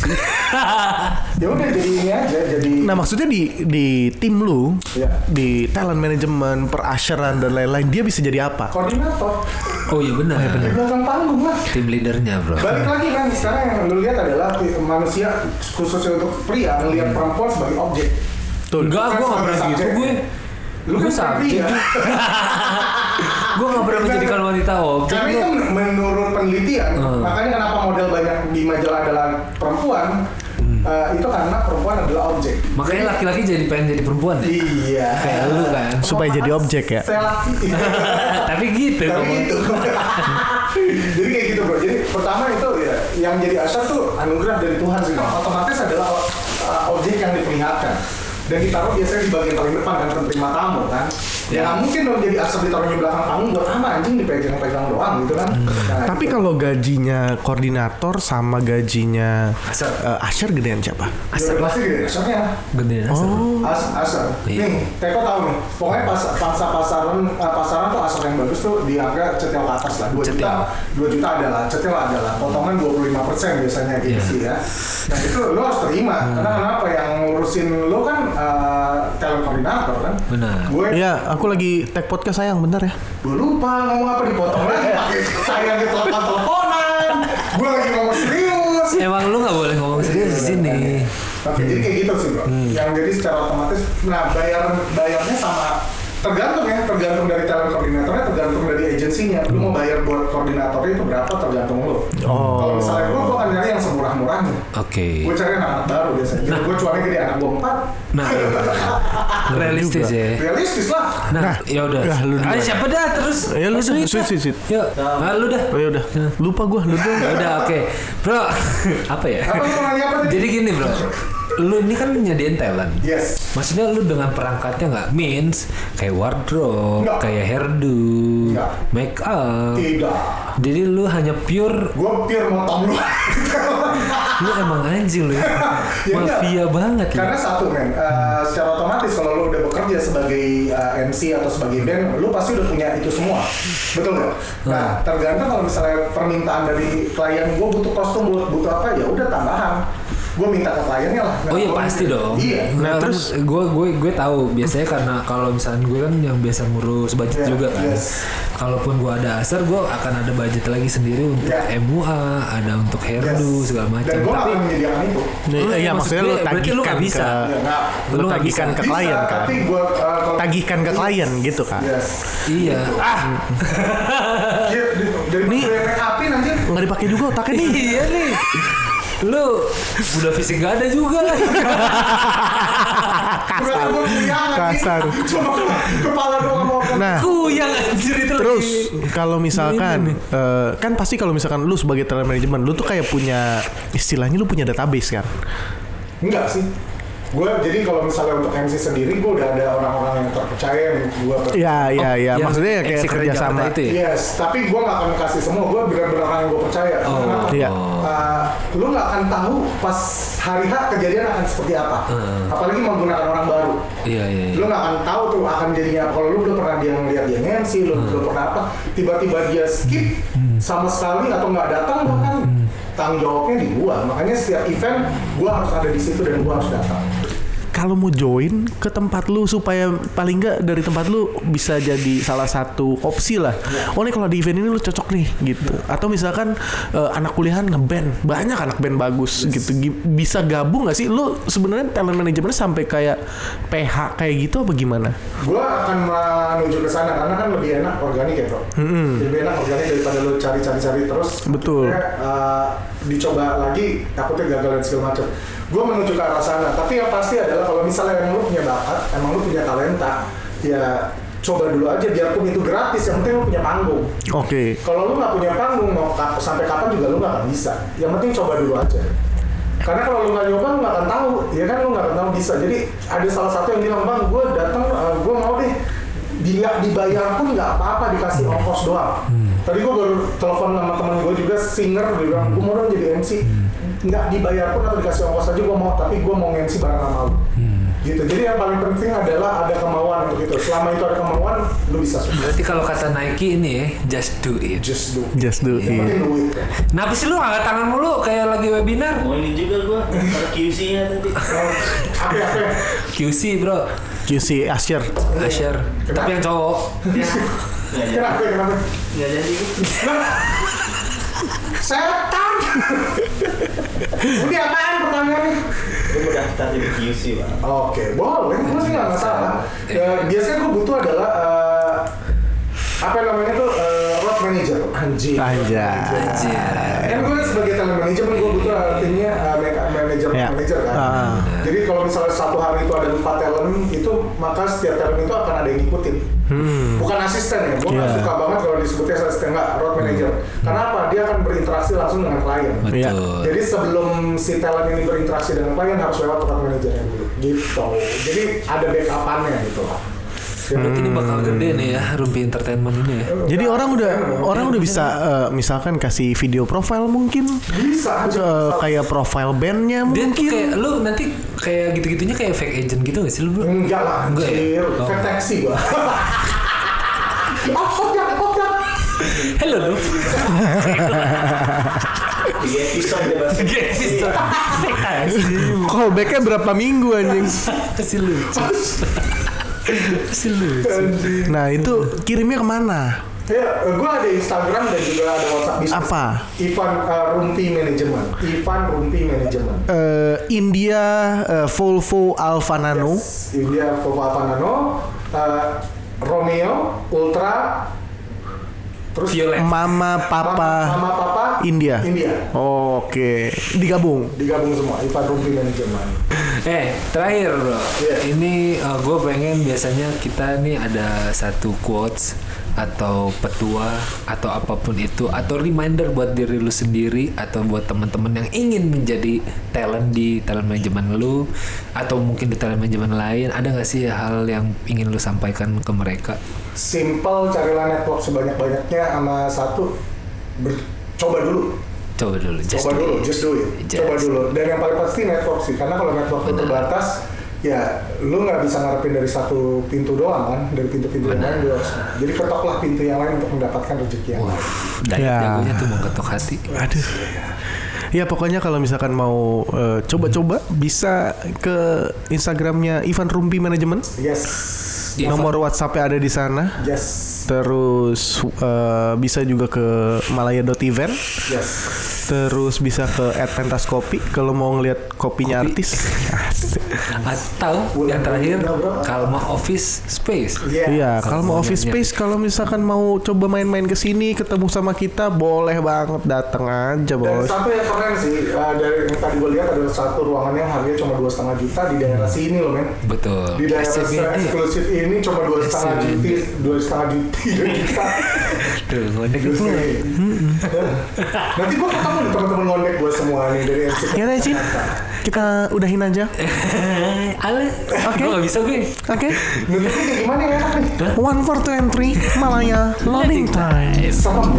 Speaker 1: ya udah jadi ini aja jadi
Speaker 3: Nah maksudnya di di tim lu,
Speaker 1: Iya.
Speaker 3: di talent management, perasyaran dan lain-lain, dia bisa jadi apa?
Speaker 1: koordinator
Speaker 2: Oh iya benar
Speaker 1: di belakang panggung lah
Speaker 2: Tim leadernya bro
Speaker 1: Balik lagi kan sekarang yang lu lihat adalah manusia khususnya untuk pria melihat perempuan sebagai objek.
Speaker 2: Enggak
Speaker 1: Bukan
Speaker 2: gue nggak
Speaker 1: sebagai
Speaker 2: pernah gitu
Speaker 1: subjek.
Speaker 2: gue Lu kan
Speaker 1: sapi
Speaker 2: sapi.
Speaker 1: ya.
Speaker 2: Gue gak pernah menjadikan wanita objek.
Speaker 1: Karena itu men- menurut penelitian,
Speaker 2: Hmm.
Speaker 1: makanya kenapa model banyak di majalah adalah perempuan, eh, itu karena perempuan adalah objek.
Speaker 2: Makanya laki-laki jadi pengen jadi perempuan ya.
Speaker 1: Iya.
Speaker 2: Kayak lu kan.
Speaker 3: Supaya jadi objek ya?
Speaker 1: Saya laki.
Speaker 2: Tapi gitu.
Speaker 1: Tapi
Speaker 2: ngomong.
Speaker 1: itu. jadi kayak gitu bro. Jadi pertama itu ya, yang jadi asyar tuh anugerah dari Tuhan sih. Bang. Otomatis adalah eh, objek yang diperlihatkan dan ditaruh biasanya di bagian paling depan kan penerima tamu kan ya
Speaker 2: Ya.
Speaker 1: nggak mungkin dong jadi asap ditaruh di belakang panggung buat apa anjing dipegang-pegang doang gitu kan Nah,
Speaker 3: Tapi
Speaker 1: itu.
Speaker 3: kalau gajinya koordinator sama gajinya
Speaker 2: Asep.
Speaker 3: eh, Asher gedean siapa?
Speaker 1: Asap
Speaker 2: Asap lah.
Speaker 1: pasti gede, asapnya
Speaker 2: Gede asap.
Speaker 3: Oh.
Speaker 1: As asal.
Speaker 2: Iya.
Speaker 1: Nih, Teko tahu nih. Pokoknya pas pasar pasaran eh, pasaran tuh asal yang bagus tuh di harga cetil ke atas lah. 2
Speaker 2: Cetil.
Speaker 1: juta. 2 juta adalah cetil adalah potongan 25% biasanya
Speaker 2: Iya.
Speaker 1: gengsi ya. Nah, itu lo harus terima.
Speaker 2: Hmm.
Speaker 1: Karena kenapa yang ngurusin lo kan eh, talent koordinator kan?
Speaker 2: Benar.
Speaker 1: Gue
Speaker 3: Ya, aku lagi tag podcast sayang, bentar ya.
Speaker 1: gue lupa ngomong apa dipotong lagi pakai saya yang telepon teleponan. Gue lagi ngomong serius.
Speaker 2: Emang lu gak boleh ngomong serius di sini.
Speaker 1: Oke, jadi kayak gitu sih bro. Yang jadi secara otomatis, nah bayar bayarnya sama tergantung ya, tergantung dari talent koordinatornya, tergantung dari agensinya. Lu mau bayar buat koordinatornya itu berapa tergantung lu.
Speaker 3: Oh.
Speaker 1: Kalau misalnya gua, gua akan nyari yang semurah-murahnya.
Speaker 2: Oke.
Speaker 1: Gue cari anak, anak baru biasanya. Jadi gue cuannya gede anak gue empat.
Speaker 2: Nah, realistis ya.
Speaker 1: Realistis lah.
Speaker 3: Nah,
Speaker 2: Nah, ya udah.
Speaker 3: udah, lu duluan.
Speaker 2: Ayo siapa dah terus?
Speaker 3: Ya, lu
Speaker 2: Langsung
Speaker 3: dah.
Speaker 2: kita.
Speaker 3: Sweet, sweet, sweet.
Speaker 2: Yuk. Nah, lu dah.
Speaker 3: Oh, ya udah. Lupa gua, lu dulu.
Speaker 2: Ya udah oke. Bro, apa ya?
Speaker 1: Apa lu mau nanya apa tadi?
Speaker 2: Jadi gini, Bro. Lu ini kan nyediain talent.
Speaker 1: Yes.
Speaker 2: Maksudnya lu dengan perangkatnya nggak means kayak wardrobe,
Speaker 1: Nggak.
Speaker 2: kayak hairdo,
Speaker 1: Nggak.
Speaker 2: make up.
Speaker 1: Tidak.
Speaker 2: Jadi lu hanya pure,
Speaker 1: Gue pure motong lu.
Speaker 2: lu emang anjing lu ya.
Speaker 1: Ya
Speaker 2: Mafia
Speaker 1: enggak.
Speaker 2: banget lu.
Speaker 1: Karena satu men, eh, secara otomatis kalau lu udah bekerja sebagai eh, MC atau sebagai band, lu pasti udah punya itu semua, betul nggak? Nah, tergantung kalau misalnya permintaan dari klien gue butuh kostum, butuh, butuh apa, ya udah tambahan. Gue minta ke kliennya lah. Nah,
Speaker 2: Oh iya
Speaker 1: gua-
Speaker 2: pasti dong.
Speaker 1: Iya.
Speaker 2: Nah, terus gue gue gue tahu biasanya karena kalau misalnya gue kan yang biasa ngurus budget
Speaker 1: Iya,
Speaker 2: juga kan.
Speaker 1: yes.
Speaker 2: Kalaupun gue ada asar, gue akan ada budget lagi sendiri untuk
Speaker 1: Iya.
Speaker 2: MUA, ada untuk
Speaker 1: Yes.
Speaker 2: hairdo segala macam.
Speaker 1: Dan gue
Speaker 2: Tapi
Speaker 1: akan menyediakan itu.
Speaker 3: Nih,
Speaker 2: Lu-
Speaker 3: ya, maksudnya lu
Speaker 2: maksudnya Iya. berarti lu
Speaker 3: tagihkan
Speaker 2: nggak bisa.
Speaker 3: ke
Speaker 1: Ya, nggak.
Speaker 3: lu
Speaker 2: Lu nggak
Speaker 3: tagihkan
Speaker 2: bisa.
Speaker 3: ke
Speaker 1: Bisa,
Speaker 3: klien kan.
Speaker 1: Tapi gue
Speaker 3: Tagihkan ke klien gitu kan.
Speaker 1: Yes.
Speaker 2: iya. Ah,
Speaker 1: Iya, dari
Speaker 3: Nih.
Speaker 1: dari apin anjir.
Speaker 3: Nggak dipakai juga otaknya nih.
Speaker 2: iya nih. Lu udah fisik gak ada juga lah.
Speaker 1: Kasar.
Speaker 3: Kasar.
Speaker 1: Cuma kepala doang mau
Speaker 3: Nah,
Speaker 2: Kuyang anjir itu
Speaker 3: Terus
Speaker 2: lagi.
Speaker 3: kalau misalkan eh, kan pasti kalau misalkan lu sebagai talent management lu tuh kayak punya istilahnya lu punya database kan.
Speaker 1: Enggak sih. Gue jadi kalau misalnya untuk MC sendiri, gue udah ada orang-orang yang terpercaya yang gue
Speaker 3: Iya iya iya
Speaker 2: yang
Speaker 3: maksudnya ya kayak
Speaker 2: Exit Kerja
Speaker 3: kerjasama.
Speaker 2: Jakarta itu ya?
Speaker 1: Yes, tapi gue gak akan kasih semua. Gue benar-benar orang yang gue percaya.
Speaker 2: Oh,
Speaker 1: Karena,
Speaker 3: Iya.
Speaker 1: uh, lu gak akan tahu pas hari H kejadian akan seperti apa. Apalagi menggunakan orang baru.
Speaker 2: Iya iya. iya.
Speaker 1: Lu gak akan tahu tuh akan jadinya. Kalau lu belum pernah dia ngeliat dia MC, lu belum pernah apa. Tiba-tiba dia skip
Speaker 3: Hmm.
Speaker 1: sama sekali atau nggak datang bahkan tanggung jawabnya di gua. Makanya setiap event gua harus ada di situ dan gua harus datang.
Speaker 3: Kalau mau join ke tempat lu supaya paling nggak dari tempat lu bisa jadi salah satu opsi lah. Oh nih kalau di event ini lu cocok nih gitu. Atau misalkan eh, anak kuliahan ngeband banyak anak band bagus gitu. Gi- Bisa gabung nggak sih lu sebenarnya talent management sampai kayak PH kayak gitu apa gimana?
Speaker 1: Gua akan menuju ke sana karena kan lebih enak organik ya bro. Lebih enak organik daripada lo cari-cari-cari terus.
Speaker 3: Betul.
Speaker 1: akhirnya, eh, dicoba lagi takutnya gagal dan segala macam. Gua menuju ke arah sana. Tapi yang pasti adalah kalau misalnya emang lu punya bakat, emang lu punya talenta, ya coba dulu aja biarpun itu gratis yang penting lu punya panggung
Speaker 3: Oke.
Speaker 1: kalau lu nggak punya panggung mau ka- sampai kapan juga lu nggak akan bisa yang penting coba dulu aja karena kalau lu nggak nyoba lu nggak akan tahu ya kan lu nggak akan tahu bisa jadi ada salah satu yang bilang bang gue datang eh, gue mau deh di nggak dibayar pun nggak apa-apa dikasih ongkos doang tadi gue baru telepon sama teman gue juga singer dia bilang gue mau dong jadi MC nggak dibayar pun atau dikasih ongkos aja gue mau tapi gue mau MC bareng sama lu gitu jadi yang paling penting adalah ada kemauan untuk itu selama itu ada kemauan lu bisa sukses
Speaker 2: Berarti kalau kata Nike ini ya, just do it.
Speaker 1: just do it.
Speaker 3: Just do
Speaker 1: yang
Speaker 3: it.
Speaker 1: penting duit kan
Speaker 2: Kenapa sih lu angkat tangan mulu kayak lagi webinar?
Speaker 4: Mau ini juga gua, ada QC-nya nanti.
Speaker 1: apa apa
Speaker 2: QC bro,
Speaker 3: QC Asher.
Speaker 2: Asher. Tapi yang cowok. Ya.
Speaker 4: Nggak jadi,
Speaker 1: kenapa kenapa
Speaker 4: nggak jadi.
Speaker 1: setan Udah apaan pertanyaannya?
Speaker 4: Gue mau daftar jadi QC bang.
Speaker 1: Oke, boleh. Gue sih nggak masalah. Ya, biasanya gue butuh adalah eh, apa namanya tuh eh, road manager. Anjing.
Speaker 3: Anjay.
Speaker 1: Kan gue sebagai talent manager kan gue butuh artinya eh, make- manager
Speaker 3: Ya.
Speaker 1: manager kan.
Speaker 3: Ah.
Speaker 1: Jadi kalau misalnya satu hari itu ada empat talent itu maka setiap talent itu akan ada yang ngikutin.
Speaker 3: Hmm.
Speaker 1: Bukan asisten ya. Gue nggak
Speaker 3: Iya.
Speaker 1: suka banget kalau disebutnya asisten nggak road
Speaker 3: Hmm.
Speaker 1: manager. Karena apa? Dia akan berinteraksi langsung dengan klien.
Speaker 3: Iya.
Speaker 2: Betul.
Speaker 1: Jadi sebelum si talent ini berinteraksi dengan klien harus lewat tempat manajernya dulu. Gitu. Jadi ada backupannya gitu lah. Ya.
Speaker 2: Berarti ini bakal gede nih ya Rumpi Entertainment ini ya.
Speaker 3: Jadi orang udah orang udah bisa eh, misalkan kasih video profile mungkin
Speaker 1: bisa aja.
Speaker 3: eh, kayak profile bandnya
Speaker 2: Dia tuh
Speaker 3: mungkin.
Speaker 2: kayak lu nanti kayak gitu-gitunya kayak fake agent gitu gak sih lu? Bro?
Speaker 1: Enggak lah,
Speaker 2: Enggak ya?
Speaker 1: anjir.
Speaker 2: Oh.
Speaker 1: Fake taxi gua. oh, kocak, kocak.
Speaker 2: Hello lu.
Speaker 4: Di episode dia bahas.
Speaker 2: Get this done. Fake agent.
Speaker 3: Callbacknya berapa minggu anjing?
Speaker 2: Pasti lucu. Pasti lucu.
Speaker 1: Anjir.
Speaker 3: Nah itu kirimnya kemana?
Speaker 1: Ya, eh, gua ada Instagram dan juga ada WhatsApp bisnis.
Speaker 3: Apa?
Speaker 1: Ivan eh, Rumpi Manajemen. Ivan Rumpi Manajemen.
Speaker 3: Eh, India eh, Volvo Alfa Nano.
Speaker 1: India Volvo Alfa Nano, eh, Romeo, Ultra, terus
Speaker 2: Violet.
Speaker 3: Mama
Speaker 1: Mama-
Speaker 3: Papa
Speaker 1: Mama, Papa,
Speaker 3: India.
Speaker 1: India.
Speaker 3: Oh, Oke, digabung.
Speaker 1: Digabung semua, Ivan Rumpi Manajemen.
Speaker 2: Eh, terakhir bro.
Speaker 1: Iya.
Speaker 2: Ini gue pengen biasanya kita nih ada satu quotes atau petua atau apapun itu atau reminder buat diri lu sendiri atau buat teman-teman yang ingin menjadi talent di talent manajemen lu atau mungkin di talent manajemen lain ada nggak sih hal yang ingin lu sampaikan ke mereka?
Speaker 1: Simple, carilah network sebanyak-banyaknya sama satu, ber- coba dulu.
Speaker 2: Coba dulu. Just
Speaker 1: coba
Speaker 2: do
Speaker 1: dulu,
Speaker 2: it.
Speaker 1: just do it.
Speaker 2: Just-
Speaker 1: Coba dulu. Dan yang paling pasti network sih, karena kalau network lu terbatas, ya lu nggak bisa ngarepin dari satu pintu doang kan, dari pintu-pintu yang lain lu harus. Jadi ketoklah pintu yang lain untuk mendapatkan rezeki yang lain.
Speaker 2: Dari
Speaker 3: Ya.
Speaker 2: jagonya tuh mau ketok hati.
Speaker 3: Aduh. Ya pokoknya kalau misalkan mau eh, coba-coba bisa ke Instagramnya Ivan Rumpi Manajemen.
Speaker 1: Yes,
Speaker 2: Ivan.
Speaker 3: Nomor WhatsAppnya ada di sana.
Speaker 1: yes,
Speaker 3: Terus eh, bisa juga ke malaya.event.
Speaker 1: yes.
Speaker 3: Terus bisa ke @pentas kopi kalau mau ngelihat kopinya
Speaker 2: Kopi.
Speaker 3: artis. Asik.
Speaker 2: Atau yang
Speaker 1: Bulan
Speaker 2: terakhir
Speaker 1: berikutnya, bro.
Speaker 2: Kalma Office Space.
Speaker 1: Iya.
Speaker 3: Iya, kalau mau office
Speaker 2: Semuanya.
Speaker 3: space kalau misalkan mau coba main-main ke sini ketemu sama kita boleh banget datang aja,
Speaker 1: Dan
Speaker 3: Bos.
Speaker 1: satu yang keren sih eh, dari yang tadi gue lihat ada satu ruangan yang harganya cuma dua setengah juta di daerah sini loh men.
Speaker 2: Betul.
Speaker 1: Di daerah
Speaker 2: SCBD.
Speaker 1: eksklusif ini cuma dua setengah
Speaker 2: SCBD.
Speaker 1: juta, dua setengah juta. juta.
Speaker 2: Tuh, ngondek
Speaker 1: Terus
Speaker 2: dulu.
Speaker 1: nih, Nanti gua ketemu nih teman-teman londek gua semua nih dari MC.
Speaker 3: Ya deh, Cin. Kita udahin aja.
Speaker 2: Eh, Ale, oke. Gak bisa gue.
Speaker 3: Oke.
Speaker 1: Nanti kayak gimana ya?
Speaker 3: One for twenty Malaya loading time.
Speaker 1: Serem.